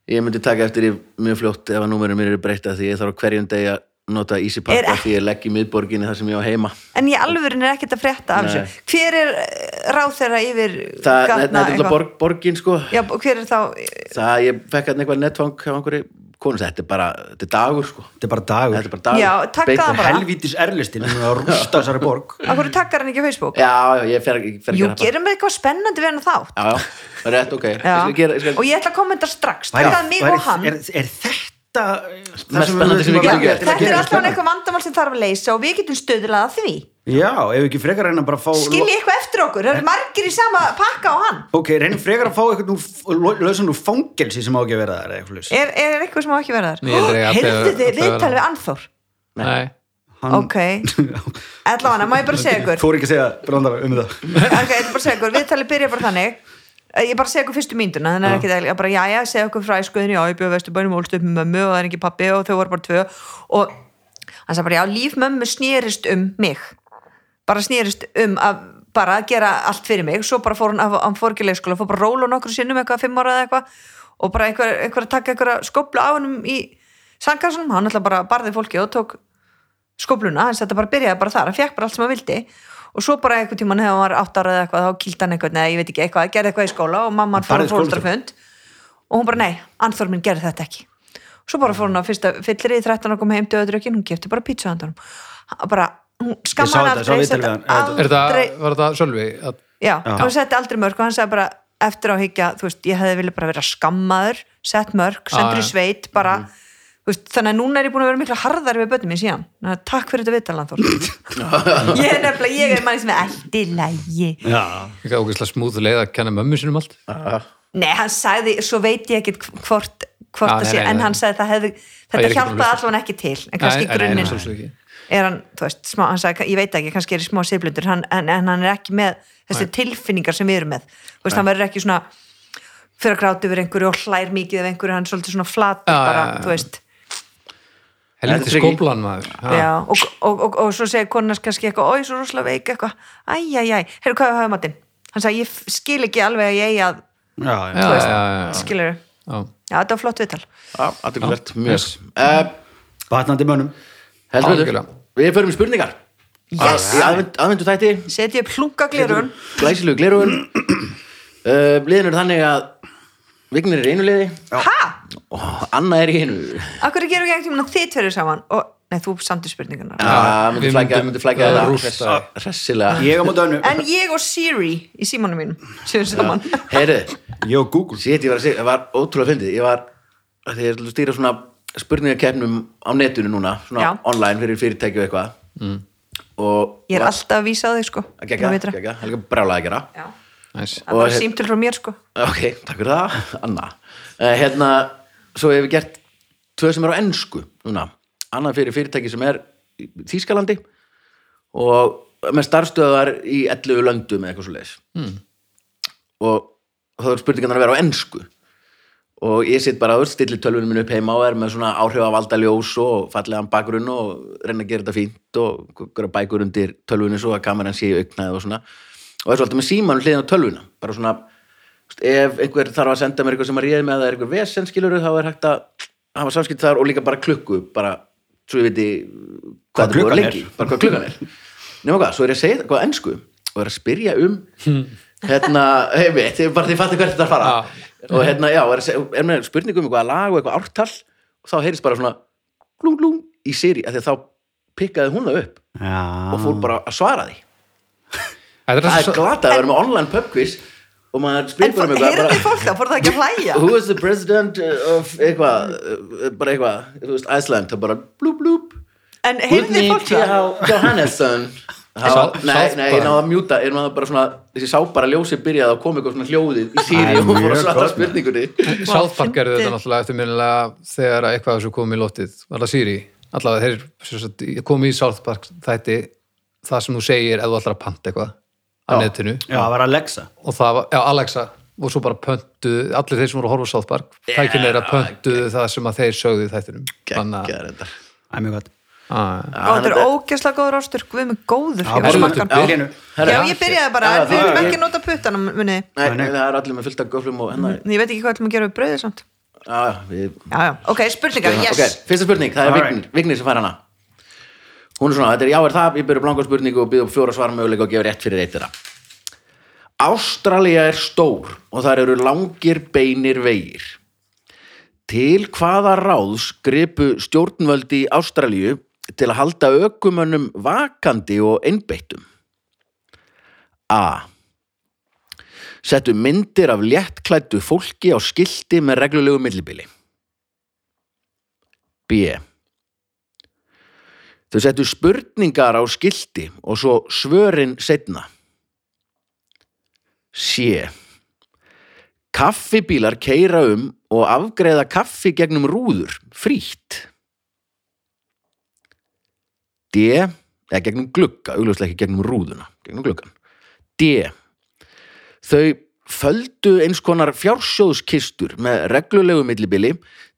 Ég myndi taka eftir í mjög fljótt ef að númerið mér eru breytta því ég þarf á hverjum degi að nota Easy Er Park af ekki- því ég legg í miðborginni þar sem ég á heima En ég alvörin er ekkert að frétta af Nei. þessu. Hver er ráð þeirra yfir Það, þetta þetta gatna er alltaf eitthvað? borg, borgin sko Já, og hver er þá, það ég fekk hérna eitthvað netfang hjá einhverju konu, þetta er bara, þetta er dagur sko þetta er bara dagur þetta er bara dagur Já, taka Beitt- það bara. helvítis erlistin hann er að rústa þessari borg af hverju takkar hann ekki á Facebook? Já, já, ég fer, ég fer að Jú, gera það gerum við eitthvað spennandi við hann þátt. Já, já, rétt, ok ég Já. skal gera, ég skal, Og ég ætla að kommenta strax, takkaði mig væri- og hann. er, er þetta Mest spennandi sem við Já, getum gert. þetta er alltaf eitthvað eitthvað vandamál sem þarf að leysa og við getum stöðulað að því já, ef ekki frekar reyna bara að fá skilji eitthvað eftir okkur, það eru margir í sama pakka á hann ok, reyna frekar að fá eitthvað lausan úr fangelsi sem á ekki að vera þar eitthvað laus. er, er eitthvað sem á ekki verða Nei, ég held að ég ætla- þar heyrðu ætla að þið vera viðtal það. við Anþór Nei. Hann- ok, allavega má ég bara segja ykkur Þóri ekki að segja brandara um það ok, ég ætla bara að segja ykkur, viðtalið byrja bara þannig Eh, ég bara segja ykkur fyrstu mynduna þannig er ekki það, ég bara já, já, segja ykkur frá æskuðinu já, ég bjóð vesturbænum og ólst upp með mömmu og það er ekki pappi og þau voru bara tvö og hann sagði bara já, líf mömmu snýrist um mig bara snýrist um að bara að gera allt fyrir mig, svo bara fór hann, að- hann fór ekki í leikskóla, fór bara ról og nokkru sinnum eitthvað fimm ára eða eitthvað og bara einhver, einhver að taka einhver að skópla á hannum í sandkassunum, hann alltaf bara barði fólki og tók skópluna, hans þetta bara byrjaði bara þar hann fekk bara allt sem hann vildi og svo bara einhvern tímann hefur hann var átt ára eða eitthvað þá kýldi hann eitthvað, neða ég veit ekki eitthvað, gerði eitthvað í skóla og mamman fór Barði að fólkstrafund og hún bara nei, Anþór minn gerði þetta ekki svo bara fór hún á fyrsta fyllir í 13 og kom heim til öðrökin, hún gefti bara pizza handa honum. Hann bara, hún Ég sá skamma hann þetta, sá aldrei viðtal við setti hann. Er aldrei, það, var það Sölvi? Að, já, hún setti aldrei mörg og hann sagði bara eftir á higgja, þú veist, ég hefði vilja bara vera skammaður sett mörg, já. sendur í Mhm. sveit bara, þú veist, þannig að núna er ég búin að vera mikla harðar við bönnum minn síðan Ná, takk fyrir þetta viðtalan Þór ég er nefnilega, ég er manni sem er allt í lægi já, ekki ógeðslega smúð leið að kenna mömmu sinum allt. Nei, hann sagði, svo veit ég ekkit hvort, hvort Já, það nei, sé, nei, en nei. hann sagði það hefði, ég er ekki þetta búin að hjálpaði hlusta. allavega ekki til, en kannski Nei, nei, nei, grunninn sjálfsögðu ekki. er hann, þú veist, smá, hann sagði, ég veit ekki, kannski er ég smá sýrblindur, hann, en, en hann er ekki með þessi tilfinningar sem við erum með, þú veist, hann verður ekki svona fyrir að gráta yfir einhverju og hlær mikið af einhverju, hann er svolítið svona flat Já, já, bara, já. þú veist, Þetta Helviti er ekki- skóplan maður. já, og, og, og, og, svo segir konars kannski eitthvað, oi, svo rosalega veik eitthvað, æj, æj, æj, heyrðu hvað við höfum matinn, hann sagði, ég f- skil ekki alveg að ég eigi að, þú já, já. já, já, já. veist, skilur, Já. já, þetta var flott viðtal. já, athyglisvert, mjög yes. Eh, batnandi mönnum heldur betur. Algjörlega. Við förum í spurningar Yes! Í aðvent- aðventu þætti setja upp hlungaglirun glæsilegu glerugun uh, liðin eru þannig að Vignir er í einu liði ha? og Anna er í einu Akkur gerum við ekki tíma þið tverju saman og Nei, þú samtir spurningunar Já, Ah, myndi Við flækja, myndum Eh, myndi flækja það rústa. hress- hressilega. Ég á móti önnu En ég og Siri í símanum mínum séum saman Heyrðu, Ég og Google Sitt, ég var að segja, það var ótrúlega fyndið ég var, af því ég ætla að stýra svona spurningakeppnum á netinu núna svona Já. online fyrir fyrirtæki og eitthvað mm. og Ég er var- alltaf að vísa á þig sko að gegja, Nú veitir það. gegja, helga brálaði að gera Já. Nice. Það Og var hér- símtil frá mér sko ok, takk fyrir það, Anna uh, hérna, svo hefur gert tvö sem er á ensku núna annað fyrir fyrirtæki sem er í Þýskalandi og með starfstöðar í 11 löndum eða eitthvað svo leis mm. og þá er spurningarnar að vera á ensku og ég sitt bara að stilli tölvunum minn upp heima og er með svona áhrifavalda ljós og fallegan bakgrunn og reyna að gera þetta fínt og gera bækur undir tölvunni svo að kameran sé í augnaði og svona og er svolítið með símanum hliðin á tölvuna bara svona, þú veist, ef einhver þarf að senda mér eitthvað sem að réði með að það er einhver vesen skilur þá er hægt að hafa samskipt þar og líka bara klukku bara svo ég viti Hvað þetta búið að klukkan lengi, er. bara hvað klukkan er nema hvað, svo er ég að segja þetta hvað ennsku og er að spyrja um hérna, heimi, þið bara þið fattu hvert þetta er að fara Já. og hérna, já, er, að seg- er með spurningu um eitthvað lag og eitthvað ártal og þá heyrist bara svona glung glung í Siri af því að þá pikkaði hún það upp og Já Ah. fór bara að svara því það Þetta er alltaf svo- glatað að vera með online pub quiz og maður En spyr bara um eitthvað heyrði bara, fólk það, fór það ekki að hlæja who is the president of eitthvað, uh, bara eitthvað þú veist, Iceland, það bara blúp blúp En heyrði Guðni fólk það T.H. Johannesson Sá- Há, nei, sást nei, bara. ég náða að mjúta ég náða bara svona, þessi sá bara ljósið byrjaði að koma eitthvað svona hljóðið í Það síri er og fór að mjög svara gott. spurningunni South Park gerði fyndið. þetta náttúrulega eftirminnilega þegar að eitthvað af þessu kom í lotið allavega Siri, allavega þeir sem sagt, komu í South Park þætti það sem þú segir ef þú ætlar að panta eitthvað á netinu Já, það var Alexa og það var, já Alexa og svo bara pöntu, allir þeir sem voru að horfa á South Park tækinn er að pöntu það sem að þeir sögðu í þættinum að, Geggjaður þetta. Það er mjög gott að, Og þetta er ógæslega góður ástur, guð með góður Já, ég var bara- smakkan. Já. Byrja nú. Herra, Já, ég byrjaði bara, Já, en við það- erum ég- ekki að nota puttanum muni. Nei, nei, það er allir með fullt af göflum og hennar Ég veit ekki hvað ætlum að gera við brauðið samt Já, já, við Já, já, ok, spurningar, yes Ok, fyrsta spurning, það er Alright. Vignir, Vignir sem fær hana Hún er svona, þetta er já er það, ég byrja blanka spurningu og býða upp fjóra svara möguleika og gefa rétt fyrir eitt þeirra Ástralía er stór og þar eru langir beinir vegir Til hvaða ráðs gripu stjórnvöldi í Ástralíu til að halda ökumönnum vakandi og einbeittum? A. Settu myndir af léttklættu fólki á skilti með reglulegu millibili. B. Þau settu spurningar á skilti og svo svörin setna. C. Kaffibílar keira um og afgreða kaffi gegnum rúður, frítt. D. Eða gegnum glugga, augljóslega ekki gegnum rúðuna, gegnum gluggan. D. Þau földu eins konar fjársjóðskistur með reglulegu millibili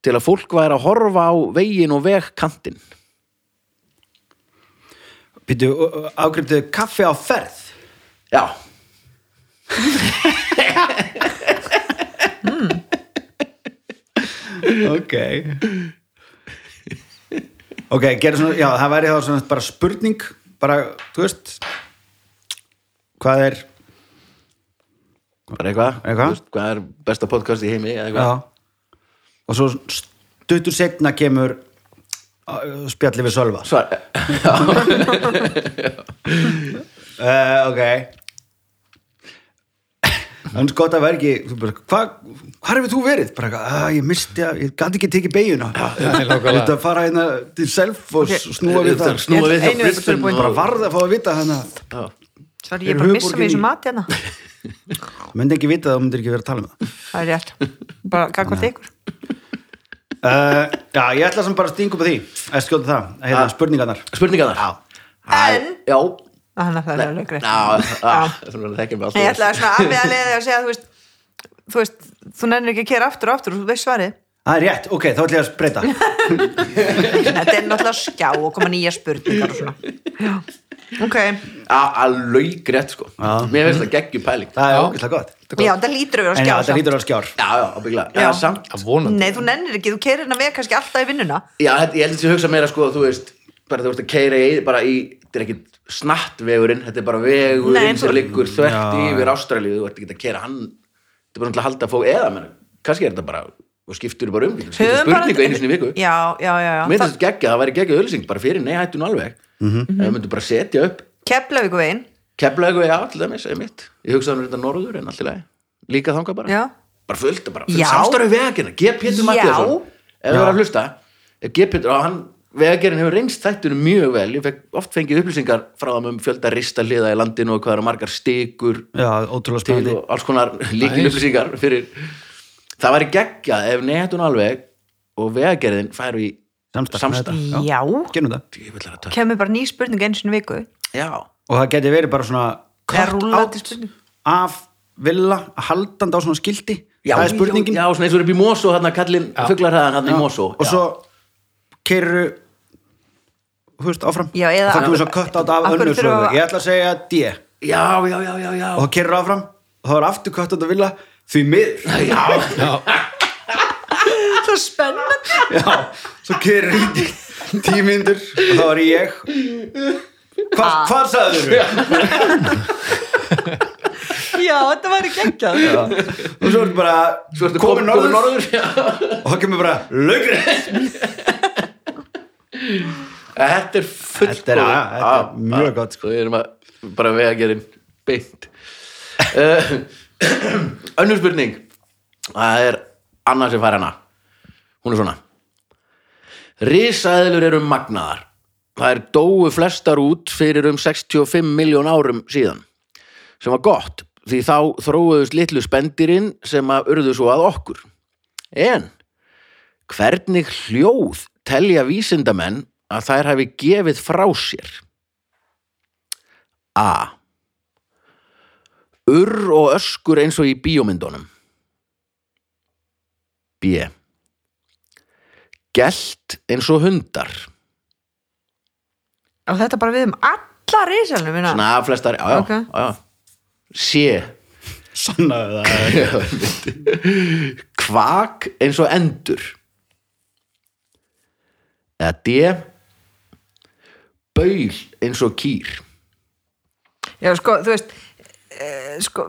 til að fólk væri að horfa á vegin og vegkantinn. Býttu, ágriftuðu kaffi á ferð Já. Ok Ok, gerðu svona, já, það væri þá svona bara spurning bara, þú veist hvað er Bara eitthvað. Eitthvað? Þú veist, Hvað er besta podcast í heimi? eða já. Eitthvað. og svo stuttur setna kemur uh, spjalli við Sölva Svar. uh, ok þannig gott að vera ekki þú bara, hva, hvar hefur þú verið? bara, eitthvað, að, ég misti að, ég gæti ekki tekið beiguna nei, nákvæmlega. þetta fara hérna til self og Ok. snúa við það Snúa við Einu hjá er bara tilbúin. Brisbane bara og... varð að fá að vita þannig að Já. Svar, ég er bara að missa Höfuðborgin mig í þessu í- mati hérna það myndi ekki vita það, það myndi ekki vera að tala um það Það er rétt, bara gagvart ykkur uh, já, ég ætla sem bara að stinga upp á því að skjóta það, hérna, Ah. spurningarnar Spurningarnar. Já. En. Já. Þannig að það er alveg Já, greitt já, Já. það er ekki um með Nei, ég ætla alltaf. að svona afvega leiði að segja þú veist, þú veist, þú nennir ekki að kera aftur og aftur og þú veist svarið. það er rétt, ok, þá ætla ég að breyta Þetta er náttúrulega skjá og koma nýja spurningar og svona. Já. Ok, Alveg greitt sko. Já. Mér finnst það geggjum pæling. það Já. er ógæslega gott já, þetta lítur að vera en skjá. já, þetta samt. lítur að vera skjár Já, já, ábygglega. Já. Já, samt. að vonandi Nei, þú nennir ekki, þú kerir hennar veg kannski alltaf í vinnuna. Já, þetta- ég held að ég hugsa meira sko, þú veist, bara þú ert að keira í, bara í, þetta er ekkit snattvegurinn, þetta er bara vegurinn Nei, en sem þú- liggur þvert Já, yfir Ástralíu, þú ert ekki að keira hann, þetta er bara náttúrulega að halda að fá eða, menn, kannski er þetta bara og skiptur bara um getur skiptur Höfum bara- spurningu einu sinni í viku já, já, já, já. mér Þa- finnst þetta geggja, það væri geggja ölsing bara fyrir, nei hættu nú alveg ef við myndum bara setja upp Keflavíkuvegin Keflavík og já, til dæmis, einmitt ég hugsaði hann reynda norður en allt í lagi líka þanga bara, Já. bara fullt og bara fullt Já. samstarfið vegagerna, G. Pétur Já. Mattiasson ef þú Já. var að hlusta ef G. Pétur, og hann vegagerinn hefur reynst þættunum mjög vel, ég fekk oft fengið upplýsingar frá þeim um fjölda rista hliða í landinu og hvað eru margar stikur já, ótrúlega til spennandi og alls konar líkin upplýsingar fyrir, það væri geggjað ef neðatun alveg og vegagerðin færu í Samstarf. samstarf. Já. Já, Gerum það. Djöfull er það töff. kemur bara ný spurning einu sinni í viku Já, og það geti verið bara svona Eða cut rúllandi out spurning. af villa haldandi á svona skildi Já, það er spurningin Já, svona eins og er upp í Mosó, hann að kallin fugglarhæðan hann í Mosó og svo keiru þú veist, áfram Já, eða- og það kemur svo kött át af Af hverju önnur þurfa svona. að- ég ætla að segja D og Já, já, já, já, já það keiru áfram og það er aftur kött át af villa því miður já, Svo spennandi já, svo keiru í tíu myndur og þá er ég Hva, Ah. hvað sagður þú? Já, þetta væri geggjað og svo ertu bara Svo ertu komin norður, já. og það kemur bara laugrætt Þetta er fullkomið Þetta er- já, þetta er mjög gott, sko. Við erum að bara vega að gera beint uh, Önnur spurning Það er Anna sem fær hana Hún er svona Risaðilur eru magnaðar Það er dóu flestar út fyrir um 65 miljón árum síðan sem var gott því þá þróuðust litlu spendirinn sem að urðu svo að okkur En hvernig hljóð telja vísindamenn að þær hafi gefið frá sér? A. Urr og öskur eins og í bíómyndunum. B. Gelt eins og hundar. Og þetta bara við um alla risalunum minna Svona að flestar, já, já, Ok. já, já. C. sannaðu það kvak eins og endur eða D baul eins og kýr Já, sko, þú veist eh, sko,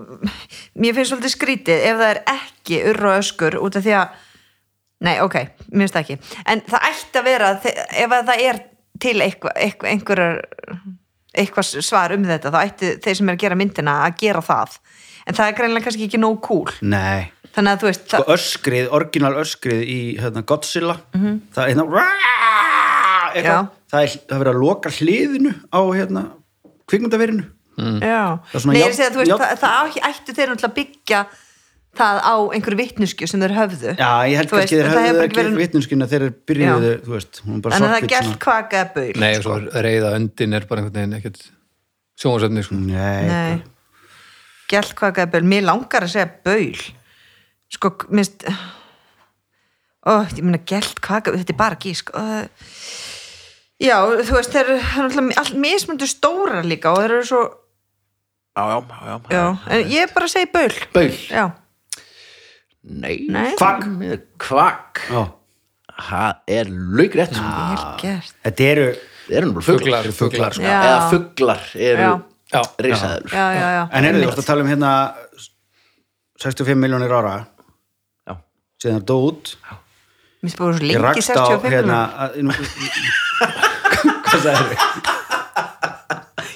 mér finnst svolítið skrítið ef það er ekki urr og öskur út af því að nei, ok, mér finnst það ekki en það ætti að vera, þe- ef að það er til eitthvað, eitthvað, einhverjar eitthvað svar um þetta þá ætti þeir sem er að gera myndina að gera það en það er greinlega kannski ekki nóg cool nei þannig að þú veist, það, sko öskrið, orginal öskrið í hérna, Godzilla það er hérna rá, Mhm. Já. eitthvað, það er það er verið að loka hliðinu á hérna, kvikmyndaverinu Já, Það er svona Nei, ég jafn- er að segja, þú veist, jafn- það, það á- ættu þeir náttúrulega að byggja það á einhverju vitnusku sem þeir höfðu já, ég held Þú veist, kannski þeir það hefur höfðu bara ekki verið... verið- vitnumskina þeir byrjuðu, þú veist hún var bara Þannig að það er svarthvít gert svona. kvaka eða baul Nei, og svo reyða öndin er bara einhvern veginn ekkert sjónvarsefni sko. nei, Nei. Gelt hvað gæði baul, mér langar að segja baul sko, minnst ó, ég meina gelt hvað gæði þetta er bara gísk Ö, já, þú veist, þeir eru allt mismundu stóra líka og þeir eru svo, já, já, já, já, Ah, en ég bara segi baul, baul, já, nei, Nei. kvak kvak, Já. það er laugrætt vel Ah. gert þetta eru það eru nú fuglar, Fuglar, fuglar, sko. já. eða fuglar eru Já. Já. risaðilur já, já, já, en eru þú varst að tala um hérna 65 miljónir ára Já. síðan það dó út minnst búið svo ég lengi rakst á 65 hérna að- nú- hvað sagði þau?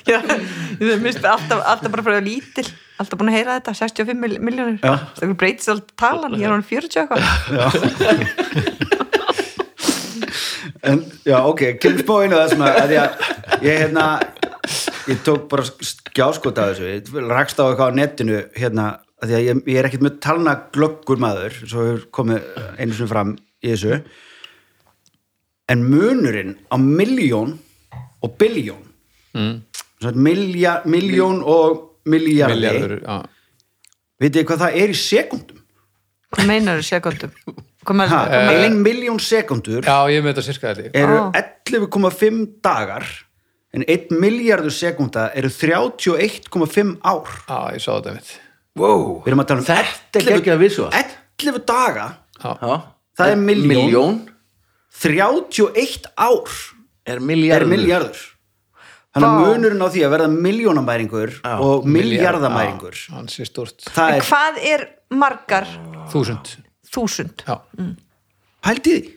Já, ég minnst alltaf, alltaf bara fyrir lítil alltaf búin að heyra þetta, 65 mil- milljónir Já. það breytist alltaf talan, ég er hann 40 eitthvað en, já, ok, kemur spá inn á það sem að, að, að ég hérna ég tók bara skjáskot af þessu ég rakst á eitthvað á netinu hérna, að því að ég, ég er ekkert með talna glöggur maður, svo hefur komið einu sinni fram í þessu en munurinn á miljón og biljón mm. milja, miljón og miljardi Milljarður, já. vitið þið hvað það er í sekundum hvað meinar þú sekundum? Hvað ha, meinar þú? ein miljón sekundur já, ég er með þetta sirka þetta eru Ó. 11,5 dagar en 1 miljardur sekunda eru 31,5 ár Já, ég sá þetta mitt wow. við erum að tala um þetta er ekki að vissu 11 daga Já, Það er milljón. miljón 31 ár er er miljardur miljardur þannig Vá. að munurinn á því að verða miljónamæringur og milljarð, miljarðamæringur já, Hann sé stort það er hvað er margar Þúsund þúsund já, Pældi því?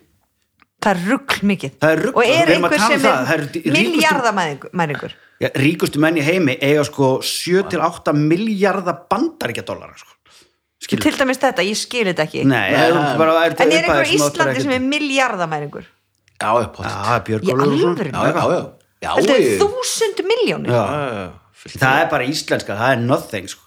það er rugl mikið Það er rugl, og við er erum að einhver tala um sem það, það er eru ríkustu- miljardamæringur Já, ríkustu menn í heimi eiga sko 7-8 miljardar bandaríkja dólar sko. Skilur. til dæmis þetta, ég skil þetta ekki Nei, það eru bara, það eru en er einhver upphæðir á sem þú áttar Íslandi ekkert- sem er miljardamæringur Já, upphátt. Já, Björg Í Ólafur alvöru? Já, já, já. Já, þetta er ég- þúsund miljónir Já. Já, Það er bara íslenska, það er nothing sko.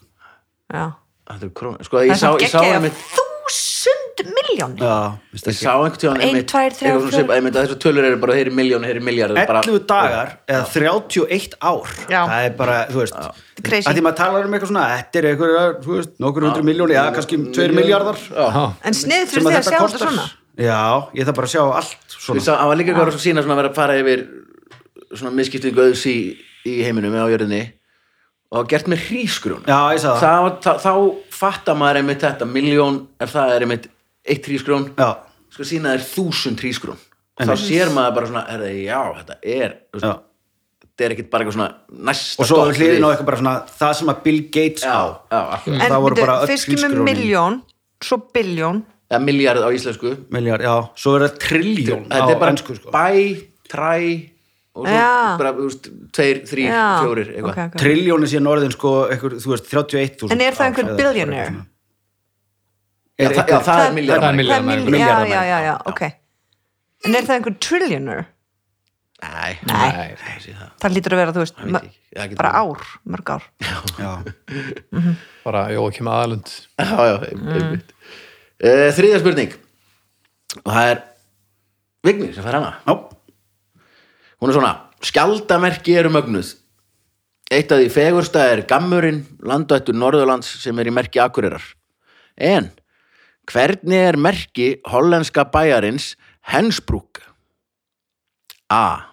Já. Þetta er krónu. Sko, ég það er sá, samt ég sá geggja einmitt, þúsund miljónir Já, veist ég sá einhvern tíðan Ein, einmitt, tvær, þrjár, eitthvað svona fjórar. sem- einmitt að þessu tölur eru bara, þeir eru miljón, þeir eru miljard. 11 dagar eða 31 ár Já. það er bara, þú veist Crazy. að því maður talar um eitthvað svona, þetta er eitthvað þú veist, nokkur hundru miljóni, eða kannski 2 miljardar Já. en snið sem fyrir því að að sjá þetta þetta kostar svona Já, ég þarf bara að sjá allt Ég svona sá, hann var líka eitthvað að sína svona að vera að fara yfir svona miskiptingu öðs í, í heiminum eða á jörðinni og það var gert með hrísgrjón. Já, ég sagði það Þá, þá, þá fattar maður einmitt þetta, miljón, ef það er einmitt eitt hrísgrjón, Já, sko sína þér þúsund hrísgrjón. Og þá sér maður bara svona, er það, já, þetta er, þú já veist, þetta er ekkert bara eitthvað svona næsta Og svo stopp hliðin á við- eitthvað bara svona það sem að Bill Gates Já, á já, akkurat. en Það voru byrju, bara öll fyrst kemur hrísgrjónin. miljón svo biljón eða miljard á íslensku Miljard, já, svo er það trilljón á þetta er bara ennsku sko bæ, træ og svo Já. bara, þú veist, tveir, þrír, Já, fjórir eitthvað ok, ok. Triljóni síðan orðin sko, einhver, þú veist, 31.000 en er það ár einhver eða eitthvað billionaire svona. Já, Er það, já, einhver- það er það er miljard Það er milljarðamæringur. milljarðamæringur. Já, já, Milljarðamæringur, já, já, ok En er það einhver trillioner? Nei, Nei, nei, það lítur að vera, þú veist, veit mör- ekki. Það getur bara verið. ár, mörg ár Já, bara, jó, ekki með aðalund já, já, Mm. einmitt uh, Þriðja spurning og það er Vignir sem fær hana já, Hún er svona, skjaldamerki eru mögnuð Eitt af því fegursta er gammurinn landvættur Norðurlands sem er í merki Akureyrar. En, hvernig er merki hollenska bæjarins Hensbrúk? A.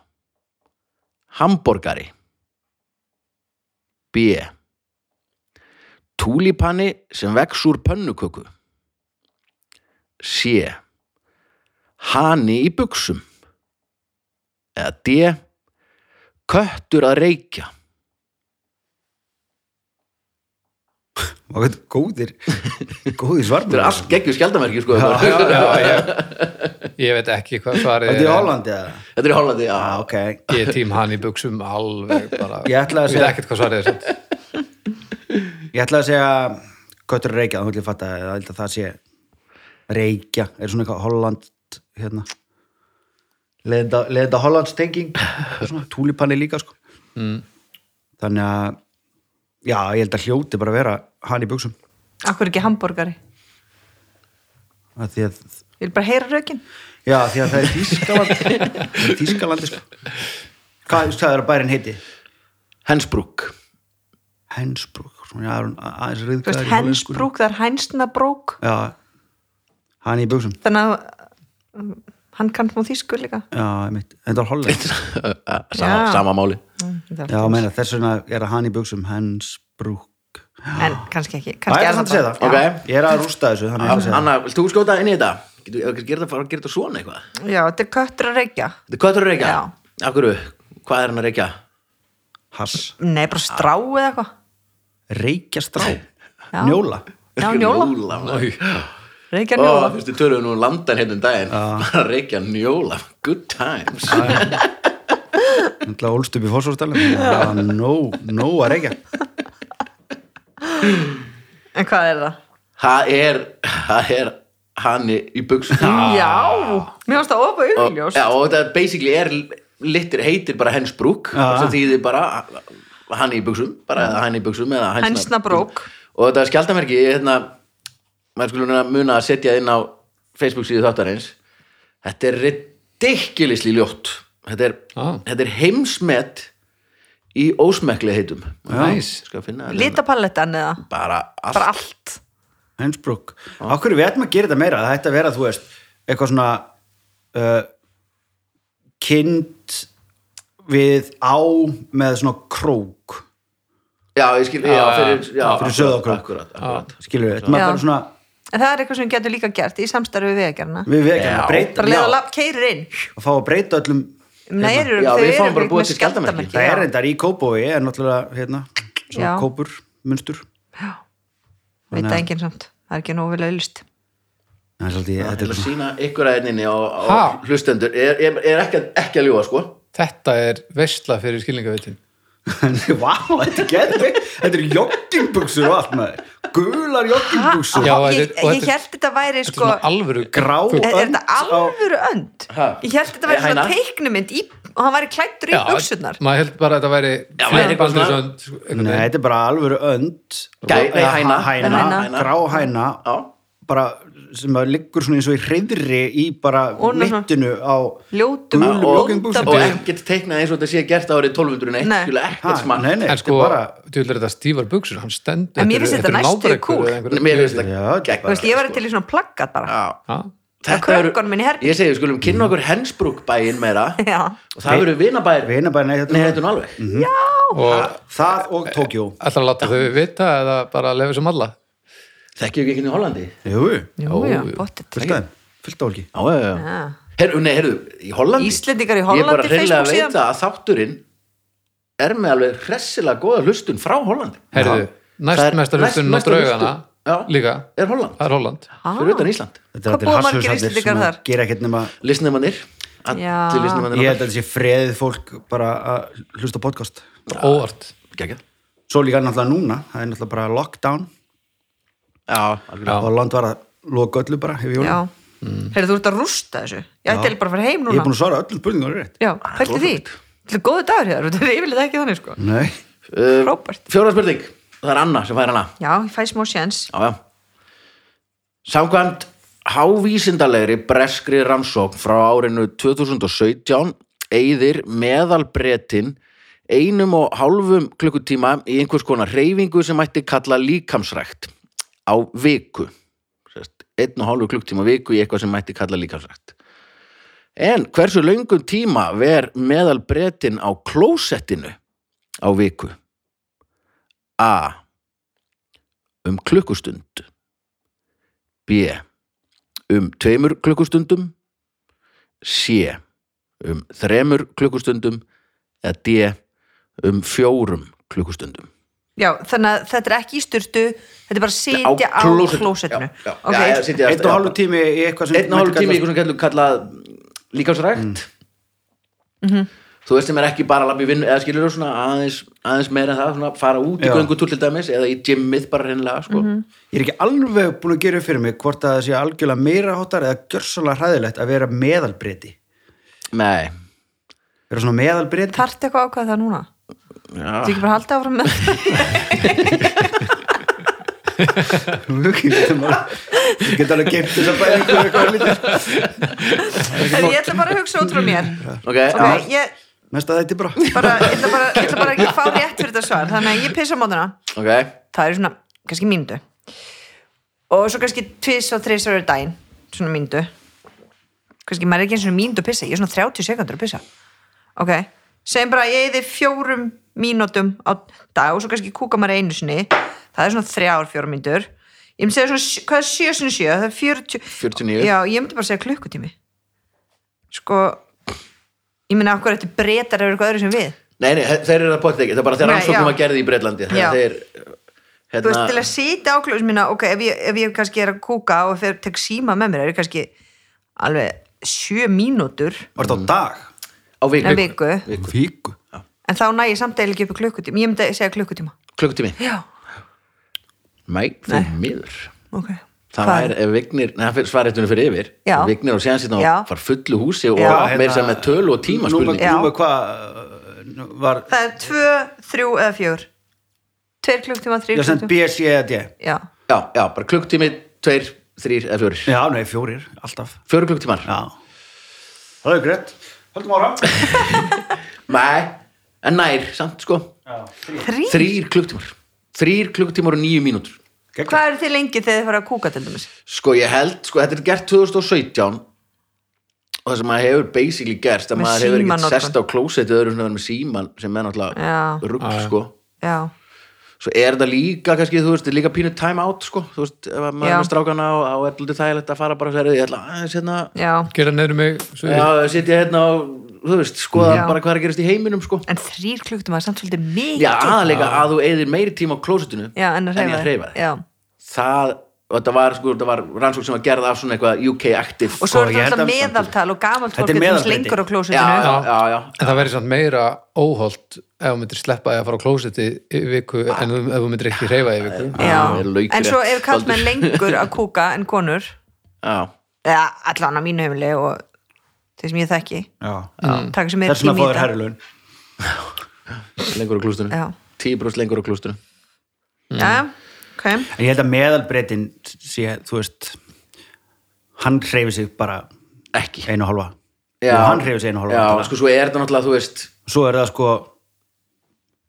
Hamborgari B. Túlipanni sem vex úr pönnuköku C. Hani í buxum eða D köttur að reykja og þetta er góðir góðir svarmur þetta er allt geggjur skjaldamerki sko, já, já, ég, ég veit ekki hvað svarið Þetta er í en Hollandi eða? þetta er í Hollandi já. Já, ok. ég er tím hann í buksum alveg bara, Ég ég veit ætlaði að segja- ekkert hvað svarið er samt. Ég ætla að segja köttur er reykja, þá ætla ég að fatta að ég held að það sé reykja, er svona eitthvað Holland hérna leðenda, leðenda Hollands tenging og svona túlipanni líka sko mm. þannig að já, ég held að hljóti bara að vera hann í buksum Akkur ekki hambúrgari að því að Ég vil bara heyra rökin já, því að það er Þískaland Þískalandi sko hvað, hvað er að bærin heiti? Hensbrúk Hensbrúk, svona já, er hún a- aðeins Þú veist, reyðgæður hensbrúk, það er hænsnabrók já, hann í buksum Þannig að um, hann kann smá þýsku líka Já, einmitt, þetta var Holland sama, Já. sama máli Mm, þetta er Já, allt. meina, þess vegna er að hann í buksum hans brúk En kannski ekki Það kannski er samt að segja það Ok. bara- Ég er að rústa þessu, þannig að ég ætla að segja það Anna, vilt þú skjóta inn í þetta? Getur þú gera þetta, fara að gera þetta svona eitthvað? Já, Já, þetta er köttur að reykja Þetta er köttur að reykja? Já. Af hverju? Hvað er hann að reykja? Hass, Nei, bara strá eða eitthvað reykja strá Njóla Já, njóla, Njóla reykja Ó, njóla fyrstu tölum nú um landan hérna um daginn bara að reykja njóla, good times Það er ólst upp í fórsvárstælum Nó, nó að reykja En hvað er það? það er það er hann í buksum Já, mér varst það ofa og, auðljós já, og þetta basically er litir, heitir bara hensbrúk Já. sem þýðir bara hann í buksum bara ja. hann í buksum eða hænsna- Hænsnabrók. og þetta er skjaldamerki hérna, maður skulum reyna að muna að setja inn á Facebook síðu þáttarins þetta er ridiculously ljótt þetta er, Já. þetta er heimsmet í ósmekkli heitum Nice. skal finna þetta hérna. Litapalettan eða bara allt, bara allt Hans brúk Á hverju við ætlum að gera þetta meira Það ætti að vera, þú veist, eitthvað svona uh, Kind við á með svona krók já, ég skil, já, fyrir, já, Fyrir akkurat, sauðárkrók. akkurat, akkurat. Skilur við, þetta maður Já. bara svona en það er eitthvað sem getur líka gert í samstarfi við vegarna Við við ekki Já. að breyta bara leða já, lapp, keirir inn Að fá að breyta öllum Nei, hérna. eru, Já, þau við eru fáum bara með búið til skjaldarmerki. skjaldarmerki, Það já. er reyndar í Kópói er náttúrulega hérna, svona Já. kópur munstur veit það enginn samt, það er ekki nógu vel auðlust Nei, er svolítið, Þetta er þetta er að svona sína ykkur að eininni á, á Ha? hlustendur. Er, er, er ekki, að- ekki að ljúga, sko. Þetta er veistla fyrir skilningavitin. Vá, þetta er getur Þetta eru joggingbuxur og allt maður Gular joggingbuxur Já, ég, þetta er- og ég þetta er- held þetta væri Þetta er sko svona alvöru Grá fugl. er, er þetta önd á- alvöru önd Ha? ég held þetta væri Eh, svona hæna? teiknumynd í, og hann væri klættur í Já, buksunar Maður held bara að þetta væri Já, væri eitthvað Baldur svona- Sönd, einhvern Nei, veginn. þetta er bara alvöru önd Gæ- nei, Eða hæna. hæna, Hæna. Grá hæna Já. bara sem að liggur svona eins og í hreyðri í bara Og ná- mittinu á Ljótum, gulum og- joggingbuxum. Og ekkert teiknað eins og þetta sé gert árið 1201. Nei. Skilja, Ha, ekkert smart. Nei, nei, En þetta sko, er bara djúlega þetta stífar buksur, hann stendur En mér finnst þetta eru næstu nábrekkur kúl. eða einhverjar- Mér finnst Já, þetta þetta er gegn. Þú veist, ég væri til í svona plaggat bara Já. Ha? Þetta Það eru- krökkunum hérna. minni herbergi. Ég segi, við skulum kynna okkur Hensbrúk bæinn meira Já. og það verður vinabæðir Vinabæ, nei, þetta Nei, er þetta er nú alveg Og bara það og Tókjó ætlar að láta þau vita eða bara lefa sem alla Þekkjum við ekki henni í Hollandi? Jú, Jú, já, jú. bóttið fullt af þeim, fullt af fólki Já, já, já Já. Herru, nei, herru, í Hollandi Íslendingar í Ég er bara Hollandi, hreinlega að Facebook síðan. veita að þátturinn er með alveg hressilega góða hlustun frá Hollandi Herðu, Það er næst mesta hlustun á næstmesta draugana hlustun. Já. líka, Er Holland, það er Holland Ah. fyrir utan Ísland Þetta er Hvað allir búa margir hasshausallir Íslendingar sem að þar? gera ekkert nema Lisnumannir, Já. allir Ég held lisnumannir að þetta sé freðið fólk bara að hlusta á podcast óvart Gækja Svo líka náttúrulega núna, það er náttúrulega bara lockdown Já, Já. og land var að loka öllu bara Já, hefur jólum Mm. heyrðu þú ert að rústa þessu Ég ætti eiginlega bara að fara heim Ég er núna búin að svara öllum spurningum rétt Já, pælti því Þetta er góðu dagur hér, þetta er yfirlega ekki þannig sko Nei, alveg Robert Fjóra spurning, það er Anna sem fær hana Já, ég fæ smá sjens Já, já. Samkvæmt hávísindalegri breskri rannsókn frá árinu 2017 eyðir meðalbretin einum og hálfum klukkutíma í einhvers konar reyfingu sem mætti kalla líkamsrækt á viku. Sest, einn og hálfu klukkutíma á viku í eitthvað sem mætti kalla líkamsrækt. En hversu löngum tíma ver meðalbretin á klósettinu á viku? A um klukkustund B um tveimur klukkustundum C um þremur klukkustundum eða D um fjórum klukkustundum Já, þannig að þetta er ekki í styrtu Þetta er bara að Á sitja á klósettinu. klósetinu Já, já. Ok. Já, já, sitja einn og já. hálfu tími í eitthvað sem einn og hálf tími í eitthvað sem kallum kallað líkásrækt Mhm. þú veist sem er ekki bara að labba í vinnu eða skilur þú svona aðeins, aðeins meira en það svona fara út í Já. göngu dæmis eða í gymmið bara hreinlega sko. Mhm. Ég er ekki alveg búin að gera upp fyrir mig hvort að það sé algjörlega meira hóttar eða gjörsalega hræðilegt að vera meðalbriti nei vera svona meðalbriti Þarftu eitthvað að ákvæða það núna? já. Þetta ekki bara að halda áfram með Ég get alveg geimt þess að bæða eitthvað eitthvað lítið Ég ætla bara að hugsa út frá mér ok, Ok, Eh, já, ég Mest að þetta er bara bara, ég ætla bara, ég ætla bara að fá rétt fyrir þetta svar Þannig að ég pissa á mótuna ok það er svona kannski mínútu og svo kannski tvis og þris ára daginn svona mínútu kannski maður er ekki eins og mínútu að pissa ég er svona 30 sekundur að pissa ok, segjum bara að ég eði fjórum mínútum á dag og svo kannski kúka maður einu sinni það er svona þrjár fjórum mínútur ég myndi segja svona, sjö- hvað er sjö sinni sjö það er 40, 49. já, ég myndi bara segja klukkutími sko ég myndi okkur þetta breytar eða eitthvað öðru sem við Nei, nei, þeir eru það potið ekki, það er bara þegar Nei, rannsóknum já. að gerði í Breitlandi Já. þegar þeir þú veist, til hérna, að sitja á klósum minna ok, ef ég, ef ég kannski er að kúka og fer tek síma með mér, er ég kannski alveg sjö mínútur Var þetta á dag? á en viku, viku, Víku en þá næ ég samt eða ekki upp í klukkutíma, ég myndi að segja klukkutíma klukkutími já, Mæ, þú miður ok Það Hvað? væri ef vignir, neða svarréttunum fyrir yfir Já. Ef vignir og séðan sínna Já. og far fullu húsi og Já. meira hérna, sem með tölu og tíma Núma, spurning Já. núma hvað uh, var það er tvö, þrjú eða fjör tveir klukkutíma, þrjú Ég sent klukkutíma B, C eða D já, Já, já, bara klukkutími, tveir, þrýr eða fjórir Já, nei, fjórir, alltaf Fjóru klukkutímar Já Það er greitt Höldum ára Nei, en nær, samt sko þrjú Þrýr klukkutímar Þrýr klukkutímar og níu mínútur hvað eru þið lengi þegar þið fara að kúka til dæmis Sko ég held, sko þetta er gert 2017 og það sem maður hefur basically gerst að Með maður hefur ekkert símanotkun. sest á klósetti öðru svona með síman sem er Já. náttúrulega rugg sko já, svo er þetta líka kannski, þú veist, þetta er líka pínu time out sko, þú veist, ef maður Já. er með strákana og, og er lítið þægilegt að fara bara sér ég ætla aðeins hérna já, gera neður mig svo- já, sitja hérna og, þú veist, skoða Já. bara hvað er að gerast í heiminum sko en þrjú klukkutíma er samt svolítið mikið já, aðalega að þú eyðir meiri tíma á klósettinu já en að ég hreyfa að hreyfa já, það og þetta var, sko, þetta var rannsók sem var gerð af svona eitthvað UK Active og svo er Sko, ég þetta held alltaf að- meðaltal og gamalt Þetta fólk er er þess meðalbreyting. lengur á já, klósitinu já, já, já. En það verður samt meira óholt ef þú myndir sleppa því að fara á klósetti í viku en þú- ef þú myndir ekki hreyfa í viku. Já. Það er laukrétt, en svo er kallt með Baldur. lengur að kúka en konur já. eða allan á mínu heimili og þeir sem ég þekki Mm. Já. taka sem er Þess vegna fóður herrlun. lengur á klústunum Já. 10% lengur á klústunum já, ok En ég held að meðalbreytin sé, þú veist, hann hreyfi sig bara ekki einu og halva. Já. hann hreyfi sig einu og halva. já, allavega. sko, svo er þetta náttúrulega, þú veist Svo er það sko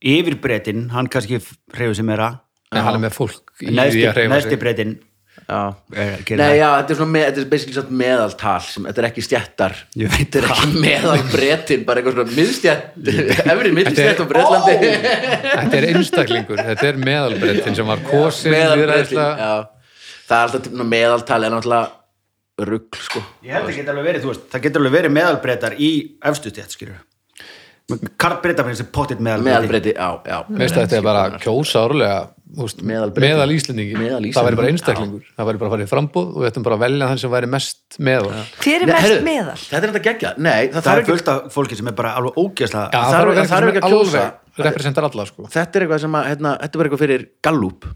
yfirbretin, hann kannski hreyfi sig meira. En hann er með fólk í því að Neðsti, hreyfa neðsti sig. Eh, bretin já. er, gerir Nei, það. já, þetta er svona með, þetta er basically samt meðaltal sem, þetta er ekki stjættar Ég veit þetta er ekki meðalbretin, bara eitthvað svona miðstjætt, efri miðstjætt á Bretlandi Þetta er einstaklingur, þetta er meðalbrettin sem var kosin meðalbretin, lýðræðislega. já það er alltaf svona meðaltal er náttúrulega rugl, sko Ég held að það geta alveg verið, þú veist, það geta alveg verið meðalbreytar í efstu stjætt, skilur. Karlbreytar finnst þið pottitt meðalbreyti. meðalbreti, já, já Veist að þetta er bara kjósa árlega úst, Meðalbreyting. meðal Íslendingi, Meðal það væri bara Íslendingi, einstaklingur það væri bara að fara í frambúð og við ættum bara að velja þann sem væri mest meðal já, hver er Nei, mest heyrðu, meðal? þetta er þetta geggja, nei, það Það er þarf ekki fullt af fólki sem er bara alveg ógeðslega það þarf- þarf ekki, það þarf ekki að kjósa representar alla sko þetta er eitthvað sem að, hérna, þetta er bara eitthvað fyrir Gallup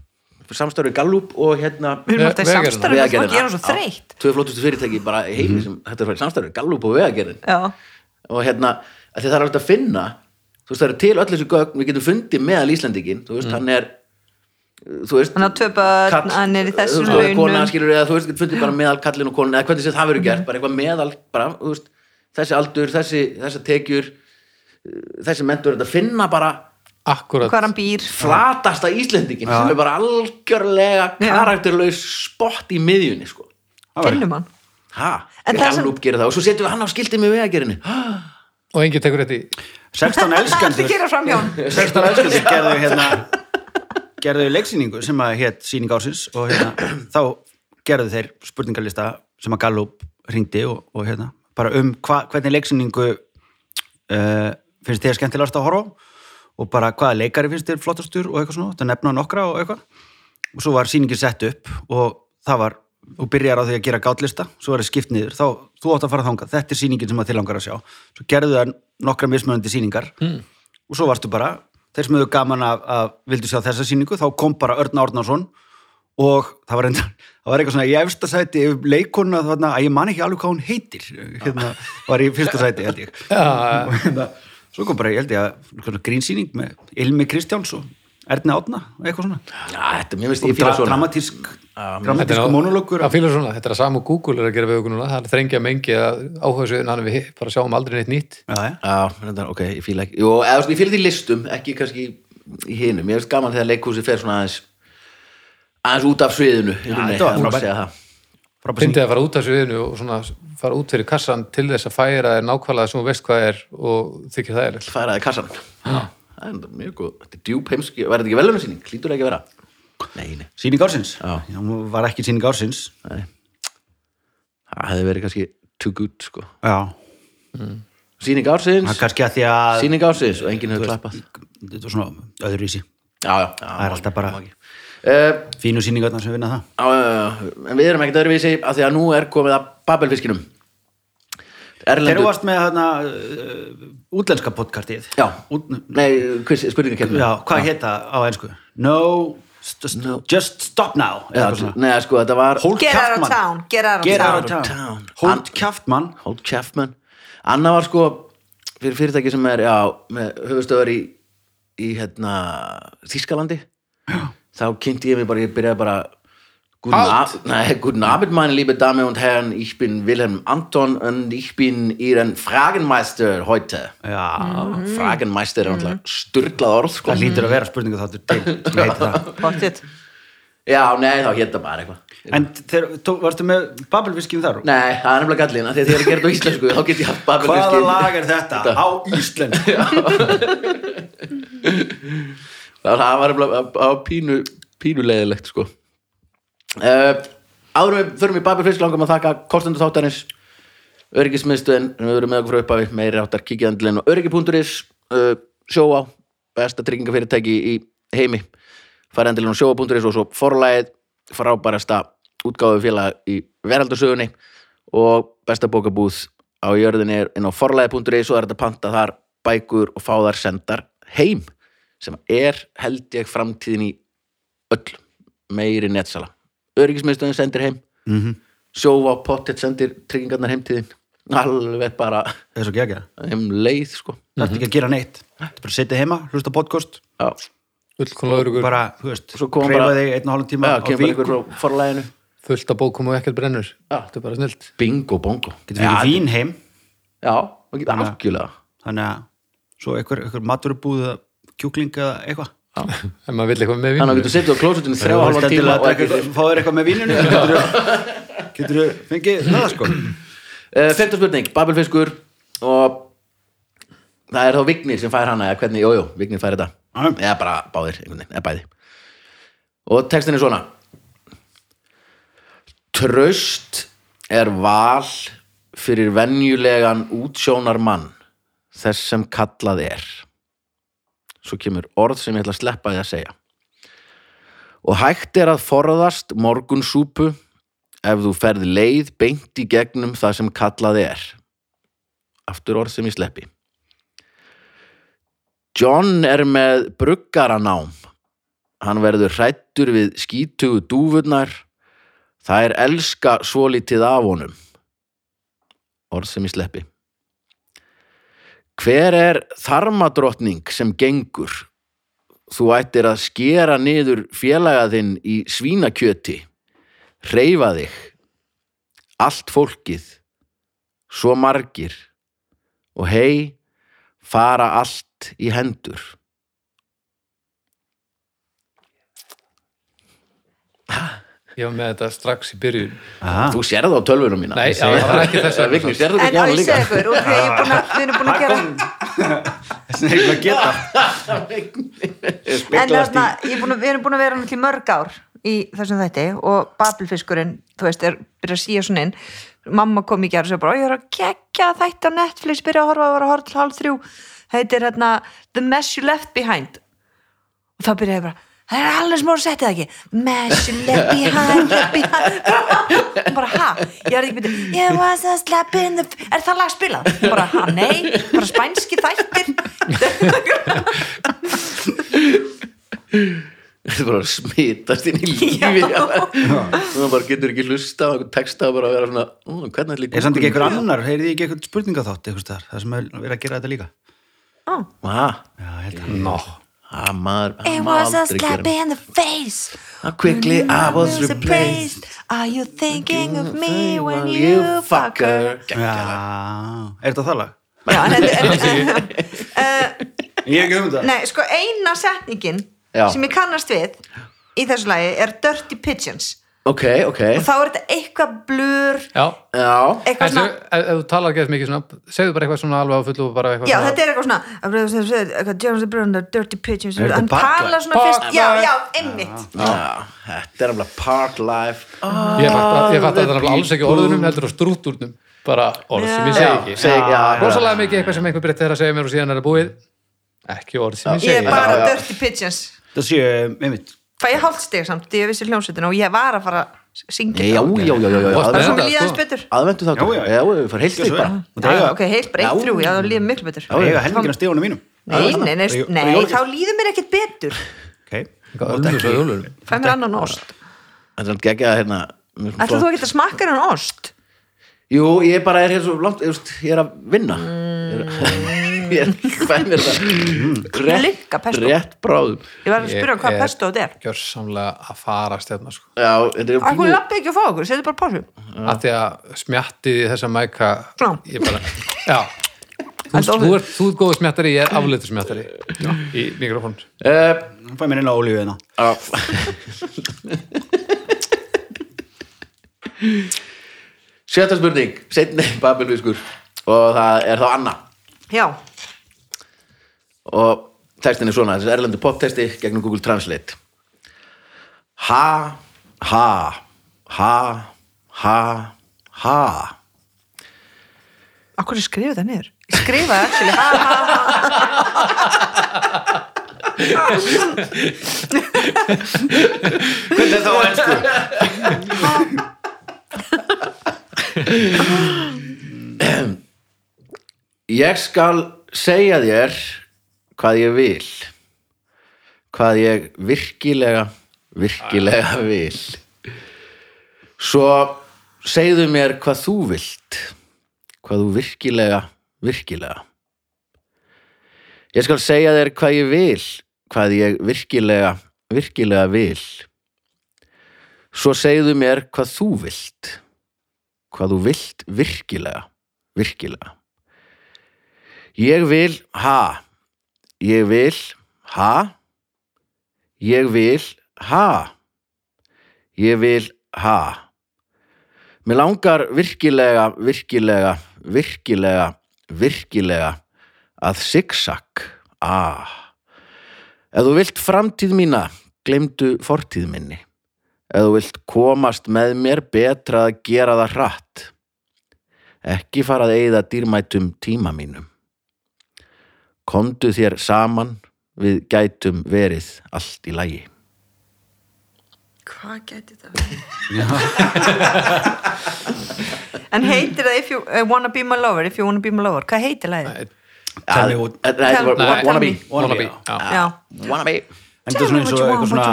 samstarfi Gallup og hérna við erum alltaf í Vegagerðina. samstarfum við erum svo þreytt tvei flottustu fyrirtæki bara í heimi sem þetta er farið samstarfi, Gallup og vegagerðin já, og hérna, af því það er alltaf að finna þú veist, það eru til öll þessu gögn við getum fundið meðal Íslandingin, þú veist, hann er þú veist Hann á tvö börn, kall- hann er í þessum þú veist, launum. kona, skilur, eða, þú veist, getur fundið bara meðal kallin og konin eða hvernig sem það verður Mhm. gert, bara eitthvað meðal bara, þú veist, þessi aldur, þessi, þessi tekjur uh, þessi mentur, þetta finna bara akkurat, hvað hann býr flatasta Íslandingin sem er bara algjörlega Já. karakterlaus spott í miðjunni, sko finnum hann ha, En það sem- Gallup gerir það og svo setjum við hann á skiltið með vegagerinu og enginn tekur þetta í 16 allir elskandur gera fram hjá hann 16 elskandur gerðu hérna gerðu leiksýningu sem að hétt síning ársins og hérna þá gerðu þeir spurningarlista sem að Gallup hringdi og, og hérna bara um hva, hvernig leiksýningu uh, finnst þér skemmtilegast að horfa á og bara hvaða leikari finnst þér flottastur og eitthvað svona, það nefna nokkra og eitthvað og svo var sýningin sett upp og það var, þú byrjar á því að gera gátlista svo var það skipt niður, þá þú átt að fara þangað þetta er sýningin sem að þið langar að sjá svo gerðu það nokkra mismunandi sýningar mm. og svo varstu bara, þeir sem höfðu gaman að, að vildu sjá þessa sýningu þá kom bara Örn Árnarsson og það var, enda, það var eitthvað svona í efsta sæti yfir leikona þarna, að ég man ekki alveg hvað hún heitir hérna, var í fyrsta sæti held ég Já, og hérna, svo kom bara, ég held ég að svona grínsýning með Ilmi Kristjáns og Erni Átna og eitthvað svona Já, þetta, mér finnst og ég fíla dra svona dramatísk þetta er dramatísku monologur að fíla svona, þetta er að samu Google er að gera við okkur núna, það er þrengja mengi að áhuga sig en hann við bara sjáum aldrei neitt nýtt já, Já, þetta, ok, ég fíla ekki Jú, eða, þú veist, ég fíla því listum, ekki kannski í hinum, ég finnst gaman þegar leikhúsi fer svona aðeins aðeins út af sviðinu Já, þetta var frábært. frábæð fyndið að fara út af sviðinu og svona fara út fyrir kassan til þess að færa þér nákvæmlega sem þú veist hvað er og þykir það er færaði kassan Já. Það er enda mjög góð, þetta er djúp heimski Var þetta ekki velunarsýning, hlýtur það ekki að vera Nei, nei, síning ársins, Já. já, hún var ekki síning ársins það hefði verið kannski too good, sko já, Sýning það er ársins, kannski að því að sýning ársins og enginn hefur klappað þetta var svona öðruvísi Já, já, já, það er alltaf bara Eh, fínu síningarnar sem vinna það Já, já, já, já. en við erum ekkert öðruvísi af því að nú er komið að Babelfiskinum þegar Erlendur þú varst með hana, uh, útlenska podcastið Já, Út, nei, spurningakeppnum já hvað hétt það á einsku no, st st No. just stop now Já, eitthvað svona. nei, sko, þetta var Holt get out of Kaufmann. town get out of Get town out of town. town. Holt Kjaftmann Holt Chapman Anna var sko fyrir fyrirtæki sem er, já, með höfustöðar í, í hérna Þískalandi já. þá kynnti ég mig bara, ég byrjaði bara Guten, Ab nei, guten Abend, meine liebe Dame und Herren, ich bin Wilhelm Anton und ich bin Ihren Fragenmeister heute. Ah, já, Mm. Fragenmeister er Mhm. náttúrulega styrlað orð, sko. það lítur að vera spurningu þáttur til sem heitir það. Pottitt. Já, nei, þá hérna bara eitthvað en þegar, tó, varstu með babelviskjum þar? Nei, það er nefnilega gallin, af því að þið er að gera þetta á íslensku þá get ég haft hvaða babelfiskin lag er þetta? á Ísland Það var nefnilega á pínu, pínu leiðilegt sko. uh, Áður en við förum í babelfisk langum að þakka kostendur þáttanins öryggismiðstöðin sem við verum með okkur frá upphafi meiri áttar kikiðandlinn og öryggi.is uh, sjóa, besta tryggingafyrirtæki í heimi farendilinn og sjóa.is og svo forlæð frábærasta útgáðu félag í veraldarsögunni og besta bókabúð á jörðinni er inn á forlæði.is og er þetta panta þar bækur og fáðar sendar heim sem er held ég framtíðin í öll meiri netsala öryggismiðstöðin sendir heim mm -hmm. sjófa pottet sendir tryggingarnar heimtíðin alveg bara það er svo gegja, um leið sko það er ekki að gera neitt það er bara að setja heima, hlusta á podcast já, fullkomlega öryggur, bara, þú veist, Svo kom reyfa bara- þig einn og hálfum tíma já á kemur bara viku, ykkur frá forlæðinu fullt af bókum og ekkert brennur Já. þetta er bara snilt bingo bongo getur við ekki vín heim já, maður getur algjörlega þannig að svo einhver, einhver maturubúð eða kjúkling eða eitthvað ef maður vill eitthvað með þannig að vín getur setið á klósutinu Þú þrjá veist halvan tíma endilega og að ekki drekka- fá þér eitthvað með víninu getur þú- getur þú fengið það sko Uh, Femta spurning, Babelfiskur og það er þá Vignir sem fær hana eða hvernig, jújú, jú, Vignir fær þetta Já. eða bara báðir, einhvern veginn, eða bæði og textin er svona Traust er val fyrir venjulegan útsjónar mann þess sem kallað er svo kemur orð sem ég ætla að sleppa því að segja og hægt er að forðast morgunsúpu ef þú ferð leið beint í gegnum það sem kallað er. Aftur orð sem ég sleppi. John er með bruggaranám. Hann verður hrættur við skítugu dúfurnar. Það er elska svolítið af honum. Orð sem ég sleppi. Hver er þarmadrottning sem gengur? Þú ættir að skera niður félaga þinn í svínakjöti hreyfa þig allt fólkið svo margir og hei fara allt í hendur ég var með þetta strax í byrjun Aha. þú sér það á tölvunum mína Nei, Ég segi já, það var ekki þess vegna. Vignir, sérðu En þetta ekki á á ég líka? segi ykkur, ok, ég er búin að, við erum búin að gera Þess vegna er ég að geta En Speglast þarna, í ég er búin að, við erum búin að vera náttúrulega í mörg ár í þessum þætti og babelfiskurinn, þú veist, er byrjað að síja svona inn mamma kom í gerð og sér bara, "Ó, ég er að kekja þætti á Netflix, byrja að horfa, var að horfa til hálf þrjú heitir hérna The Mess You Left Behind og þá byrjaði ég bara Það er alveg smór að setja það ekki The Mess you left behind, left behind Og bara ha, ég er ekki byrja It was a slap in the Er það lag spilað? Og bara ha, nei, bara spænski þættir þetta er bara að smitast inn í lífi Já. þú bara getur ekki hlusta á einhvern texta og bara vera svona, "Ó, hvernig ætli er samt ekki Google- einhver annar, heyrði ég ekki einhver spurningaþátt einhvers staðar, það sem er verið að gera þetta líka Ó Ha, já, ég held að no. ha, maður, ha, It was maður a aldrei slap gera in the face. How quickly I was replaced Are you thinking of me when you fucker? já, er þetta það lag? Já, en þetta er... ég er ekki um þetta Nei, sko, eina setningin Já. sem ég kannast við í þessu lagi er Dirty Pigeons. ok, ok Og þá er þetta eitthvað blur, já já, eitthvað En svona... ef, ef þú talar ekki mikið svona, segðu bara eitthvað svona alveg á fullu og bara eitthvað Já, svona, þetta er eitthvað svona eitthvað, James Brown, the Dirty Pigeons Er þetta hann Barclay? talar svona fyrst, já, já, einmitt Já, þetta er alveg park life oh, ég fatt, ég fatt að það er alls ekki orðunum heldur á strúttúrnum, bara orð sem ég Já. segi ekki ah, seg, já, já, rosalega mikið eitthvað sem einhver breytti er að segja mér og síðan er það búið ekki orð sem ég ég er segi Já, bara já. Dirty Pigeons það séu, eh, einmitt fæ ég hálfsteg samt, því ég vissi hljómsveitina og ég var að fara að syngja já, já, já, já, já, Og bara já spennandi. Þetta, svona líða sko. aðeins betur aðvendu þáttur, Já, já, já. já, við fyrir heilstík Gjörðu svo bara vel. Og Já, það já, eiga- ok, heilt bara Já. eitt þrjú, já, þá líður miklu betur það eiga helmingina stífunum mínum Nei, nei, nei, Eru- eru nei, jólagjöf? þá líður mér ekkert betur ok, Ölmur, Fæ mér annan ost Þetta er alveg geggjað hérna mér finnst Ætlar flott. þú ekki að smakka hann ost? Jú, ég bara er hér svo langt, ég veist, ég er að vinna Ég er- Ég er fæn mér það Linka pesto. rétt bráðum Ég var að Ég spyrja hann hvað er- pesto þetta er gjörsamlega að fara stefna sko. Já, þetta er Akkur hún lappi ekki að fá okkur, setið bara pásu að því að smjattið í þessa mæka Svona. ég bara, já þú, Þetta þú, orðið. ert, þú ert góðu smjattari, ég er afleitur smjattari í mikrofón uh, Nú fæ mér inn á olíu hérna Sjötta spurning, setni Babelfiskur Og það er þá Anna Já, og textin er svona, þessi erlendu poptexti gegnum Google Translate ha, ha ha, ha ha akkur er skrifað það niður Skrifað, actually, ha, ha, ha Hvernig er það á ennsku? Ég skal segja þér hvað ég vil hvað ég virkilega virkilega vil Svo segðu mér hvað þú vilt hvað þú virkilega virkilega Ég skal segja þér hvað ég vil hvað ég virkilega virkilega vil Svo segðu mér hvað þú vilt hvað þú vilt virkilega virkilega Ég vil ha Ég vil ha Ég vil ha Ég vil ha Mér langar virkilega, virkilega, virkilega, virkilega að zigzag. Ah. Ef þú vilt framtíð mína, glemdu fortíð minni. Ef þú vilt komast með mér betra að gera það hratt. Ekki fara að eyða dýrmætum tíma mínum. Komdu þér saman, við gætum verið allt í lagi. Hvað gæti það? en heitir það if you uh, wanna be my lover, if you wanna be my lover, hvað heitir lagið? Tell me what- Nei, þetta var Tell- wa- wannabe. Nei. Wannabe, Wannabe, já. Já. Wannabe. Enda svona eins og eitthvað svona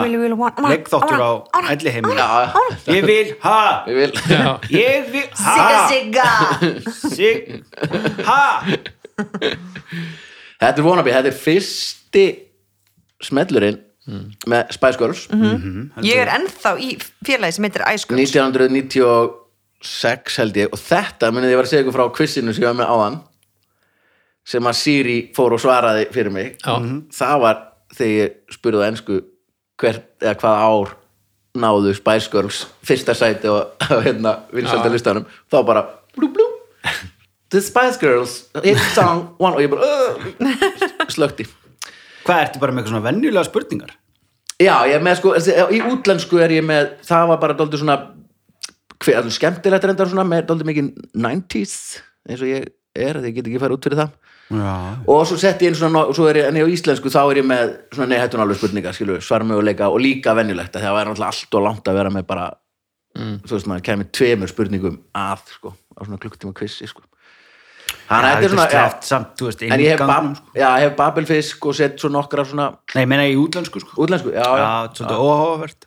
leggþáttur á elli Já, Ég vil ha ég vil. Já. Ég vil Sigga, ha sigga. Sig ha Þetta er wannabe, þetta er fyrsti smellurinn með Spice Girls Ég er ennþá í félagi sem heitir Æskur. 1996 held ég og þetta munið ég var að segja ykkur frá quizinu sem ég var með áðan sem að Siri fór og svaraði fyrir mig Já. það var þegar ég spurði á ensku hver, eða hvað ár náðu Spice Girls fyrsta sæti og hérna vinsælda listanum þá bara blú blú The Spice Girls, hit song one og ég bara uh, slökti Hvað ertu bara með eitthvað svona venjulega spurningar? Já, ég er með sko, í útlensku er ég með, það var bara dóldi svona, hver, alveg skemmtilegt reyndar svona, með dóldi mikið 90s, eins og ég er, því ég get ekki fara út fyrir það. Já Og svo setti ég inn svona, og svo er ég, en ég á íslensku, þá er ég með svona, nei, hættun alveg spurningar, skilu, svarmöguleika og líka venjulegt, af því að það væri náttúrulega allt og langt að vera með bara, þú veist, maður kemur tveimur spurningum að, sko, á svona klukktíma kvissi, sko. Þannig að þetta er svona, sleppt samt, þú veist, En ég hef, bab, inngangnum, sko. já, ég hef babelfisk og sett svo nokkra svona Nei, ég meina í útlensku sko útlensku, já, já, Já, svolítið óháverð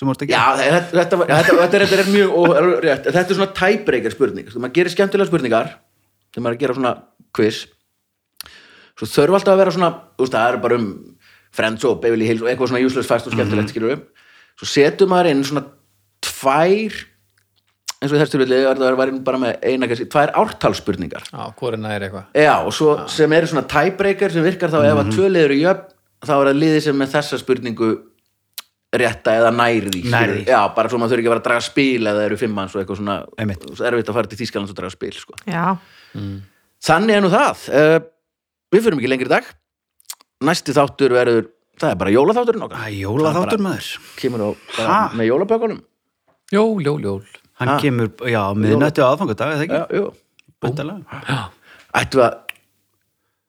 sem vorst ekki Já, þetta, þetta, var- þetta, þetta, er, þetta er mjög órétt. Þetta er svona tæbreykar spurning. Þú maður gerir skemmtilega spurningar þegar maður er að gera svona quiz svo þurfa alltaf að vera svona þú veist, það er bara um Friends og Beverly Hills og eitthvað svona useless fast og skemmtilegt mm svo setur maður inn svona tvær eins og í þessu tilfelli var það var bara með eina kannski, tvær ártalspurningar Já, hvað er næri eitthvað? Já, og svo sem eru svona tiebreaker sem virkar þá Mhm. ef að tvö liður eru jöfn þá er það liðið sem með þessa spurningu rétta eða nær því Nær skilurðu. því. Já, bara svo maður þurfi ekki að vera að draga spil eða það eru fimm manns og eitthvað svona Einmitt. svo erfitt að fara til Þýskalands og draga spil sko. Já. Þannig er nú það uh, Við fyrum ekki lengri í dag Næsti þáttur verður, það er bara jólaþátturinn okkar Æ, jólaþáttur maður Það Kemur á bara Ha? með jólapökunum Jól, jól, jól. Hann kemur, já, miðnættu aðfangadag, eða Já, jú ekki? Já, Já, Ættu að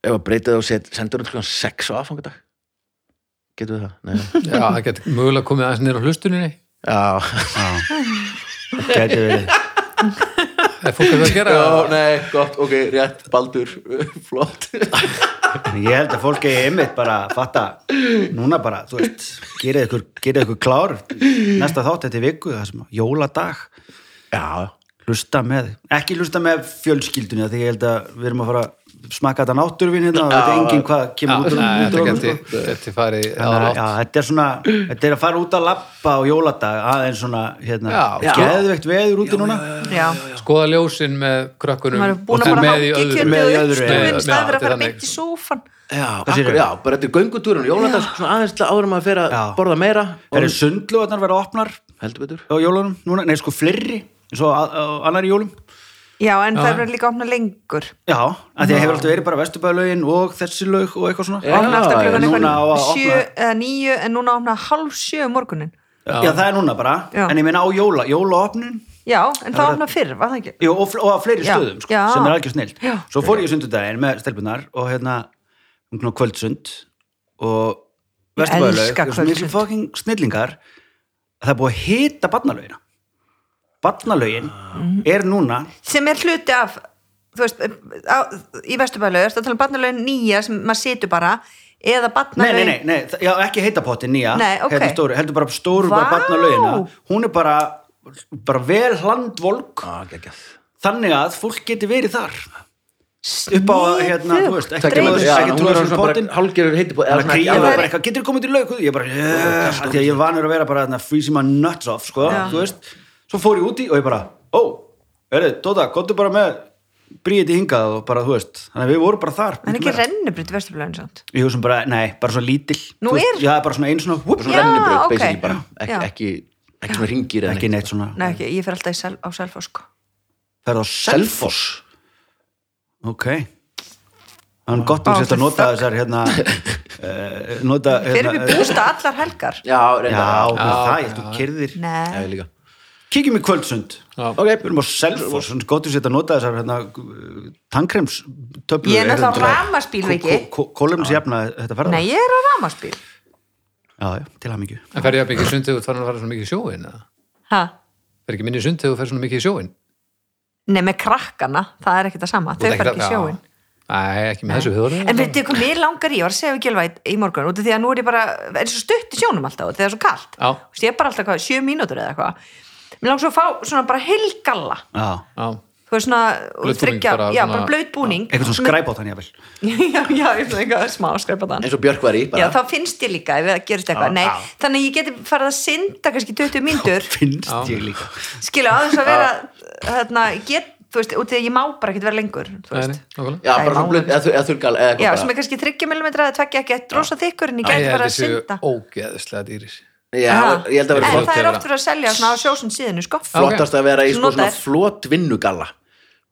ef að breyta það og set- sendur hann klukkan 6 á aðfangadag Getum við það? Nei. já það getur mögulega komið aðeins nýra á hlustuninni. Já Gæti verið Ef fólk er að gera Já, nei, gott, ok, rétt, baldur, flott En Ég held að fólk eigi einmitt bara að fatta núna bara, þú veist, gerið ykkur, gerið ykkur klár næsta þátt þetta er viku, það sem að jóladag Já, hlusta með, ekki hlusta með fjölskyldunni því ég held að við erum að fara að smakka þetta náttúrfinn hérna og veit enginn hvað Já, kemur út úr- nei, út þetta úr honum, geti, sko. geti farið eh, Þannig aðra að- átt. Já, þetta er svona, þetta er að fara út að lappa á jóladag aðeins svona, hérna, Já. geðveikt veður úti núna Já. skoða ljósin með krökkunum Maður er búin og að þeir bara með í hátt í öðru Með í kjörbjóðu öðru, upp já. stúfinn Já, staðið fyrir að fara þannig. beint í sófan. já, segirðu? akkur, já, bara þetta er göngutúrun Jólandags, svona aðeins til áður en maður fer að Já. borða meira Það eru sundlóðarnar verða opnar á Heldur betur jólunum núna, nei sko fleiri eins og á- á annari jólum Já, en það verður líka opnað lengur. Já, að því að hefur alltaf verið bara vesturbæðlaugin og þessi laug og eitthvað svona Já, Opnað alltaf klukkan já, núna á eitthvað að sjö opna- eða níu en núna opnað hálf sjö um morgunin. Já, það er núna bara, Já. en ég meina á jóla, jólaopnun Já, en það opnað fyrr, var það ekki? Jú, og, fl- og á fleiri Já, stöðum, sko, já. sem er algjör snill Já. Svo fór ég sundudaginn með stelpunar og hérna um kvöldsund og Vesturbæðalög, elska það er svo miklu kvöldstund. fucking snillingar að það er búið að hita barnalögina barnalögin Mhm. er núna sem er hluti af þú veist, á, í vesturbælaug ertu að tala um barnalögin nýja sem maður situr bara eða nei, nei, barnalögin nei, nei, það- já, ekki heita pottin nýja Nei, ok. hérna stóru, heldur bara stóru bara Vá. barnalögina hún er bara, bara vel hlandvolk Ah, geggjað. þannig að fólk geti verið þar upp á, að, hérna, þú veist Það ekki kemur- trúa þessu, já, ekki hún trúa er þessu svona bara pottin hálfgerður heiti búið- eða svona Þannig að ekki Krían var alveg- bara eitthvað, getur þú komið til laug? Ég bara, yeah, því að ég er vanur að vera bara að freeze my nuts off, sko, Já. þú veist. Svo fór ég úti og ég bara, ó, verðu, Dóta, komdu bara með bríði hingað og bara, þú veist, þannig að við vorum bara þar. en miklu ekki meira. rennubrið í vesturbælaugin samt Ég hugsa bara, nei, bara svona lítil. Nú Þú veist, er- Já, það er bara svona einu svona, whoop, svona Já, rennibraut, ok. basically bara Já. ekki, ekki, ekki svona ringir ekki neitt svona. Nei, ekki, ég fer alltaf í sel, á Selfoss sko. Það er á self. Selfoss Ok. Þannig gott um Wow, sér að nota fuck. þessar, hérna, uh, nota, fyrir við hérna, bústa allar helgar Já, já, reyndar það, það, ég þú kyrðir. Já, nei, ég líka Kíkjum í kvöldsund. Við Ok, erum á Selfoss, þannig gott við setja að nota þessar hérna, tannkremstöflur Ég er náttúrulega á rafmagnsbíl, Viki. Kólum sem jafna þetta ferða nei ég er á ramaspíl Já, já, til að mikið En fer ég að byggja sund þegar þú farin að fara svona mikið í sjóin? eða? Fer ekki minni í sund þegar þú fer svona mikið í sjóin? nei með krakkana, það er ekkert það sama þau Þú ert fara ekkert ekki í að- sjóin Já. Nei, ekki með þessu hugur. en veitu hvað mér langar í, ég var að segja við Gilva í, í morgun út af því að nú er ég bara, er svo stutt í sjónum alltaf þegar það er svo kalt, Já. Þú veist, ég er bara alltaf hvað, sjö mínútur eða eitthvað mér langar svo að fá svona bara heilgalla Já, Já, þú veist svona, Blaut búning, þryggja bara já, svona- bara blaut búning eitthvað svona skræp á þannig jafnvel já, já, ég finnst eitthvað smá skræpa þann eins og Björk var í já, bara þá finnst ég líka ef það gerist eitthvað, nei, þannig að ég geti farið að synda kannski 20 mínútur Finnst ég líka skilu, á þess að vera hérna, get, þú veist, út í að ég má bara ekkert vera lengur, þú nei, veist nei, nákvæmlega. Já, Æ, bara svona mánuð. blöð, eða þur- eða þurrgal eða Já, eitthvað sem bara. er kannski 30 mm eða tvekja ekki eitt rosa þykkur en ég Ég gæti held bara að þessu synda ógeðslega dýris. Já, Ha. ég held að vera en flott það er þeirra. oft verið að selja svona á sjósun síðinu sko. flottast að vera í sko, Svona svona notaðir. flott vinnugalla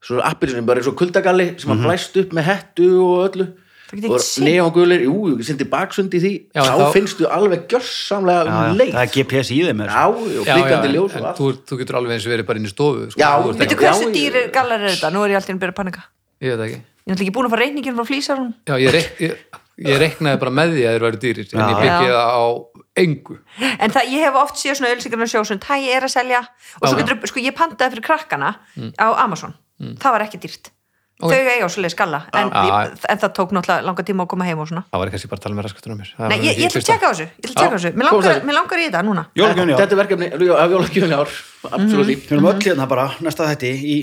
svo appilsinu, bara eins og kuldagalli sem að blæst upp með hettu og öllu Það getur og ekki synt. neongulir, jú, ég sindi baksundi því Já, þá, þá- finnst þú alveg gjörsamlega Já, já, um leið Það er GPS í þeim er já, og flikandi en, ljós og en allt þú, þú getur alveg eins verið bara inn í stofu. Sko, Já, þú ert Veitu ekki- já, hversu ég- dýri gallar er þetta? Nú er ég alltaf að byrja að panika Ég veit ekki. Ég er náttúrulega ekki búin að fá reyningin frá flýsarum Já, ég, rek, ég, ég reknaði bara með því að þeir væri dýrir, en ég byggja Já. það á engu. En það, ég hef oft séð svona ölsingarnar sjósund Það ég er að selja Og svo Já. getur, sko, ég pantaði fyrir krakkana Mm. á Amazon Það var ekki dýrt Ok. Þau eiga á svoleiði skalla en, Ah, Já. ég, en það tók náttúrulega langa tíma að koma heim og svona Það var kannski bara að tala með raskatuna á mér. Það Nei, var ég, ekki ég ætla að lista. tjekka á þessu Ég ætla að tjekka á þessu Mér Komum langar, þessu. mig langar í þetta núna Jólgjöfni já þetta er verkefni, já, af jólagjöfni ár Mhm. absolutt Við erum öll hérna bara næsta þetta í,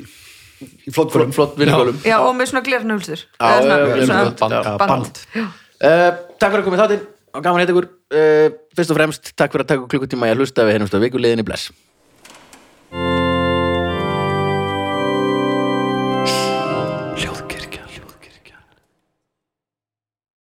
í flottkvölum flott vinnugallum Já, og með svona glernuhulstur Já, já, já, já, band, já, Band Uh, takk fyrir að Eh, komið þáttinn og gaman að heita ykkur uh, fyrst og fremst takk fyrir að taka klukkutíma í að hlusta við hennumst á vikuleginni bless